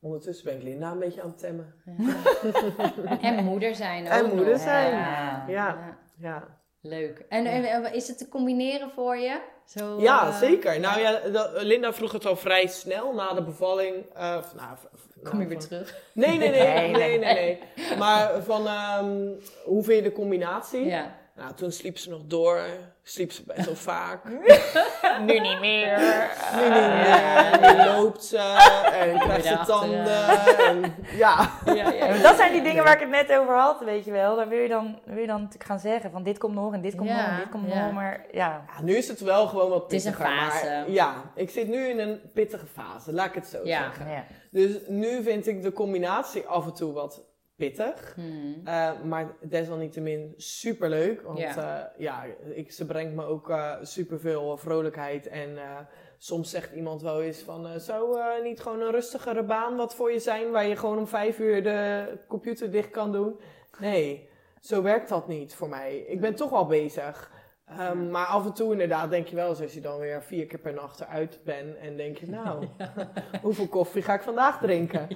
Speaker 2: ondertussen ben ik Linda een beetje aan het temmen.
Speaker 1: Ja. en moeder zijn ook
Speaker 2: En
Speaker 1: nog.
Speaker 2: moeder zijn.
Speaker 1: Ja.
Speaker 2: Ja.
Speaker 1: Ja.
Speaker 2: Ja,
Speaker 1: Leuk. En, en, eh, is het te combineren voor je? Zo,
Speaker 2: ja
Speaker 1: eh,
Speaker 2: zeker. Nou ja, dat- Linda vroeg het al vrij snel na de bevalling. eh, of, nou, v- v-
Speaker 1: Kom je
Speaker 2: nou,
Speaker 1: weer
Speaker 2: van-
Speaker 1: terug?
Speaker 2: Nee, nee, nee. nee,
Speaker 3: Nee,
Speaker 2: nee,
Speaker 3: nee.
Speaker 2: nee, Maar van ehm, hoe vind je de combinatie?
Speaker 1: Ja.
Speaker 2: Nou, toen sliep ze nog door. Sliep ze best wel vaak.
Speaker 3: Nu niet meer.
Speaker 2: Nu niet meer. Nu loopt ze. En krijgt ze
Speaker 1: Weer
Speaker 2: tanden. En, ja.
Speaker 1: Ja, ja.
Speaker 3: Dat zijn die dingen waar ik het net over had, weet je wel. Daar wil je dan, wil je dan natuurlijk gaan zeggen van dit komt nog en dit komt
Speaker 1: Ja,
Speaker 3: nog en dit komt
Speaker 1: ja.
Speaker 3: nog. Maar ja,
Speaker 2: Ja, Nu is het wel gewoon wat
Speaker 1: Het is een
Speaker 2: pittiger. maar
Speaker 1: fase.
Speaker 2: ja, ik zit nu in een pittige fase. Laat ik het zo
Speaker 1: Ja.
Speaker 2: zeggen.
Speaker 3: ja.
Speaker 2: Dus nu vind ik de combinatie af en toe wat pittig.
Speaker 1: Hmm.
Speaker 2: Eh, maar desalniettemin superleuk. Want
Speaker 1: Ja.
Speaker 2: ja, ja ik, ze brengt me ook eh superveel vrolijkheid. En eh, soms zegt iemand wel eens van... eh, zou eh, niet gewoon een rustigere baan wat voor je zijn... waar je gewoon om vijf uur de computer dicht kan doen? Nee, zo werkt dat niet voor mij. Ik ben toch wel bezig. Ehm, maar af en toe inderdaad denk je wel eens... als je dan weer vier keer per nacht eruit bent... en denk je nou, hoeveel koffie ga ik vandaag drinken?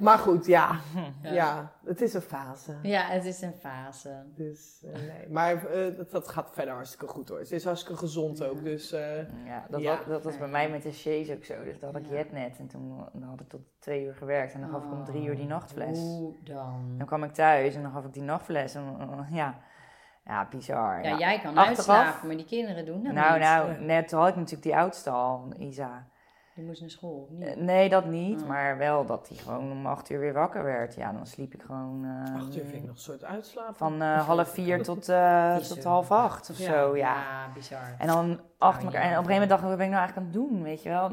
Speaker 2: Maar goed, ja, ja. het is een fase.
Speaker 1: ja, het is een fase.
Speaker 2: Dus eh, nee. Maar eh, dat, dat gaat verder hartstikke goed hoor. Ze is hartstikke gezond ook. Dus eh,
Speaker 3: Ja, dat,
Speaker 2: Ja.
Speaker 3: Was, dat was bij mij met de chaise ook zo. Dus dat had ik jet net en toen dan had ik tot twee uur gewerkt en dan gaf ik om drie uur die nachtfles.
Speaker 1: Oh, Hoe dan?
Speaker 3: Dan kwam ik thuis en dan gaf ik die nachtfles en eh, ja, ja bizar.
Speaker 1: Ja, jij kan
Speaker 3: Achteraf-
Speaker 1: uitslapen, maar die kinderen doen dat
Speaker 3: nou,
Speaker 1: niet.
Speaker 3: nou, net toen had ik natuurlijk die oudste al, Isa.
Speaker 1: Die moest naar school. of niet?
Speaker 3: Eh, Nee, dat niet,
Speaker 1: Oh.
Speaker 3: maar wel dat hij gewoon om acht uur weer wakker werd. Ja, dan sliep ik gewoon eh,
Speaker 2: acht uur vind ik nog een soort oh, uitslapen.
Speaker 3: van eh, half vier tot, eh,
Speaker 1: Is
Speaker 3: tot
Speaker 1: er.
Speaker 3: half acht of
Speaker 2: Ja.
Speaker 3: zo, nou, ja.
Speaker 1: Ah, bizar.
Speaker 3: En dan achter
Speaker 1: Oh,
Speaker 3: elkaar.
Speaker 1: ja.
Speaker 3: En op een gegeven moment dacht ik, wat ben ik nou eigenlijk aan het doen, weet je wel?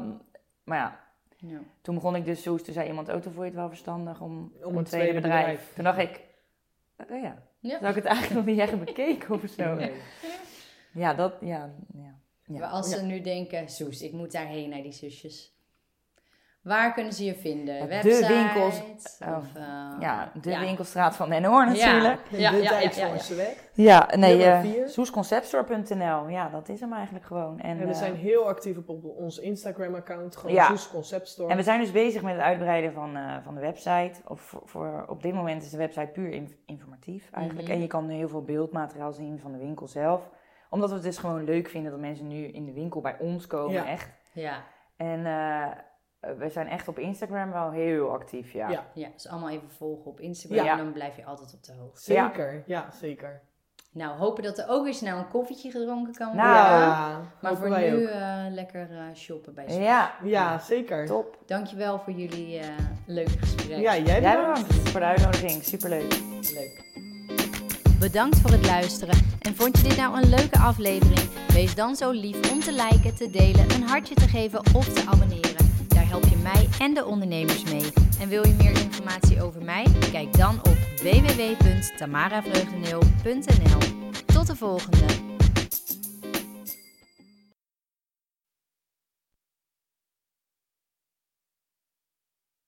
Speaker 3: Maar ja,
Speaker 1: Ja.
Speaker 3: Toen begon ik dus zoes, toen zei iemand, oh, toen vond je het wel verstandig om,
Speaker 2: een tweede bedrijf.
Speaker 3: Toen dacht ik, oh ja,
Speaker 1: Ja.
Speaker 3: zou
Speaker 2: Nou,
Speaker 3: ik het eigenlijk nog niet echt bekeken of zo?
Speaker 2: Nee.
Speaker 3: Ja, dat, ja, ja. Ja.
Speaker 1: Maar als ze nu denken, Soes, ik moet daarheen naar die zusjes. Waar kunnen ze je vinden?
Speaker 3: Ja, de
Speaker 1: Website?
Speaker 3: winkels.
Speaker 1: Of,
Speaker 3: Oh,
Speaker 1: eh,
Speaker 3: Ja, de
Speaker 1: ja.
Speaker 3: winkelstraat van Den Hoorn
Speaker 1: Ja.
Speaker 3: natuurlijk.
Speaker 1: Ja,
Speaker 2: de
Speaker 1: ja,
Speaker 2: tijd
Speaker 1: ja, ja,
Speaker 2: van
Speaker 1: ja.
Speaker 2: ze weg.
Speaker 3: Ja, nee,
Speaker 2: Nummer
Speaker 3: eh,
Speaker 2: vier.
Speaker 3: soesconceptstore.nl. Ja, dat is hem eigenlijk gewoon. En,
Speaker 2: En we
Speaker 3: eh,
Speaker 2: zijn heel actief op ons Instagram-account, gewoon
Speaker 3: Ja.
Speaker 2: Soes Concept Store.
Speaker 3: en we zijn dus bezig met het uitbreiden van, eh, van de website. Of voor, voor, op dit moment is de website puur in- informatief eigenlijk.
Speaker 1: Mhm.
Speaker 3: En je kan nu heel veel beeldmateriaal zien van de winkel zelf. Omdat we het dus gewoon leuk vinden dat mensen nu in de winkel bij ons komen,
Speaker 2: Ja.
Speaker 3: echt.
Speaker 1: ja,
Speaker 3: En eh, we zijn echt op Instagram wel heel actief, ja.
Speaker 2: Ja.
Speaker 1: ja, dus allemaal even volgen op Instagram.
Speaker 3: Ja.
Speaker 1: Dan blijf je altijd op de hoogte.
Speaker 2: Zeker, ja, zeker.
Speaker 1: Nou, hopen dat er ook weer snel een koffietje gedronken kan worden.
Speaker 3: Nou,
Speaker 1: maar
Speaker 2: hopen
Speaker 1: voor
Speaker 2: wij
Speaker 1: nu
Speaker 2: ook.
Speaker 1: eh, lekker eh, shoppen bij Soes.
Speaker 3: Ja,
Speaker 2: Ja, zeker.
Speaker 3: top.
Speaker 1: Dankjewel voor jullie eh, leuke gesprek.
Speaker 2: Ja, jij
Speaker 3: Jij
Speaker 2: bedankt.
Speaker 3: bedankt voor de uitnodiging, superleuk.
Speaker 1: Leuk. Bedankt voor het luisteren. En vond je dit nou een leuke aflevering? Wees dan zo lief om te liken, te delen, een hartje te geven of te abonneren. Daar help je mij en de ondernemers mee. En wil je meer informatie over mij? Kijk dan op www.tamaravreugdeneel.nl. Tot de volgende!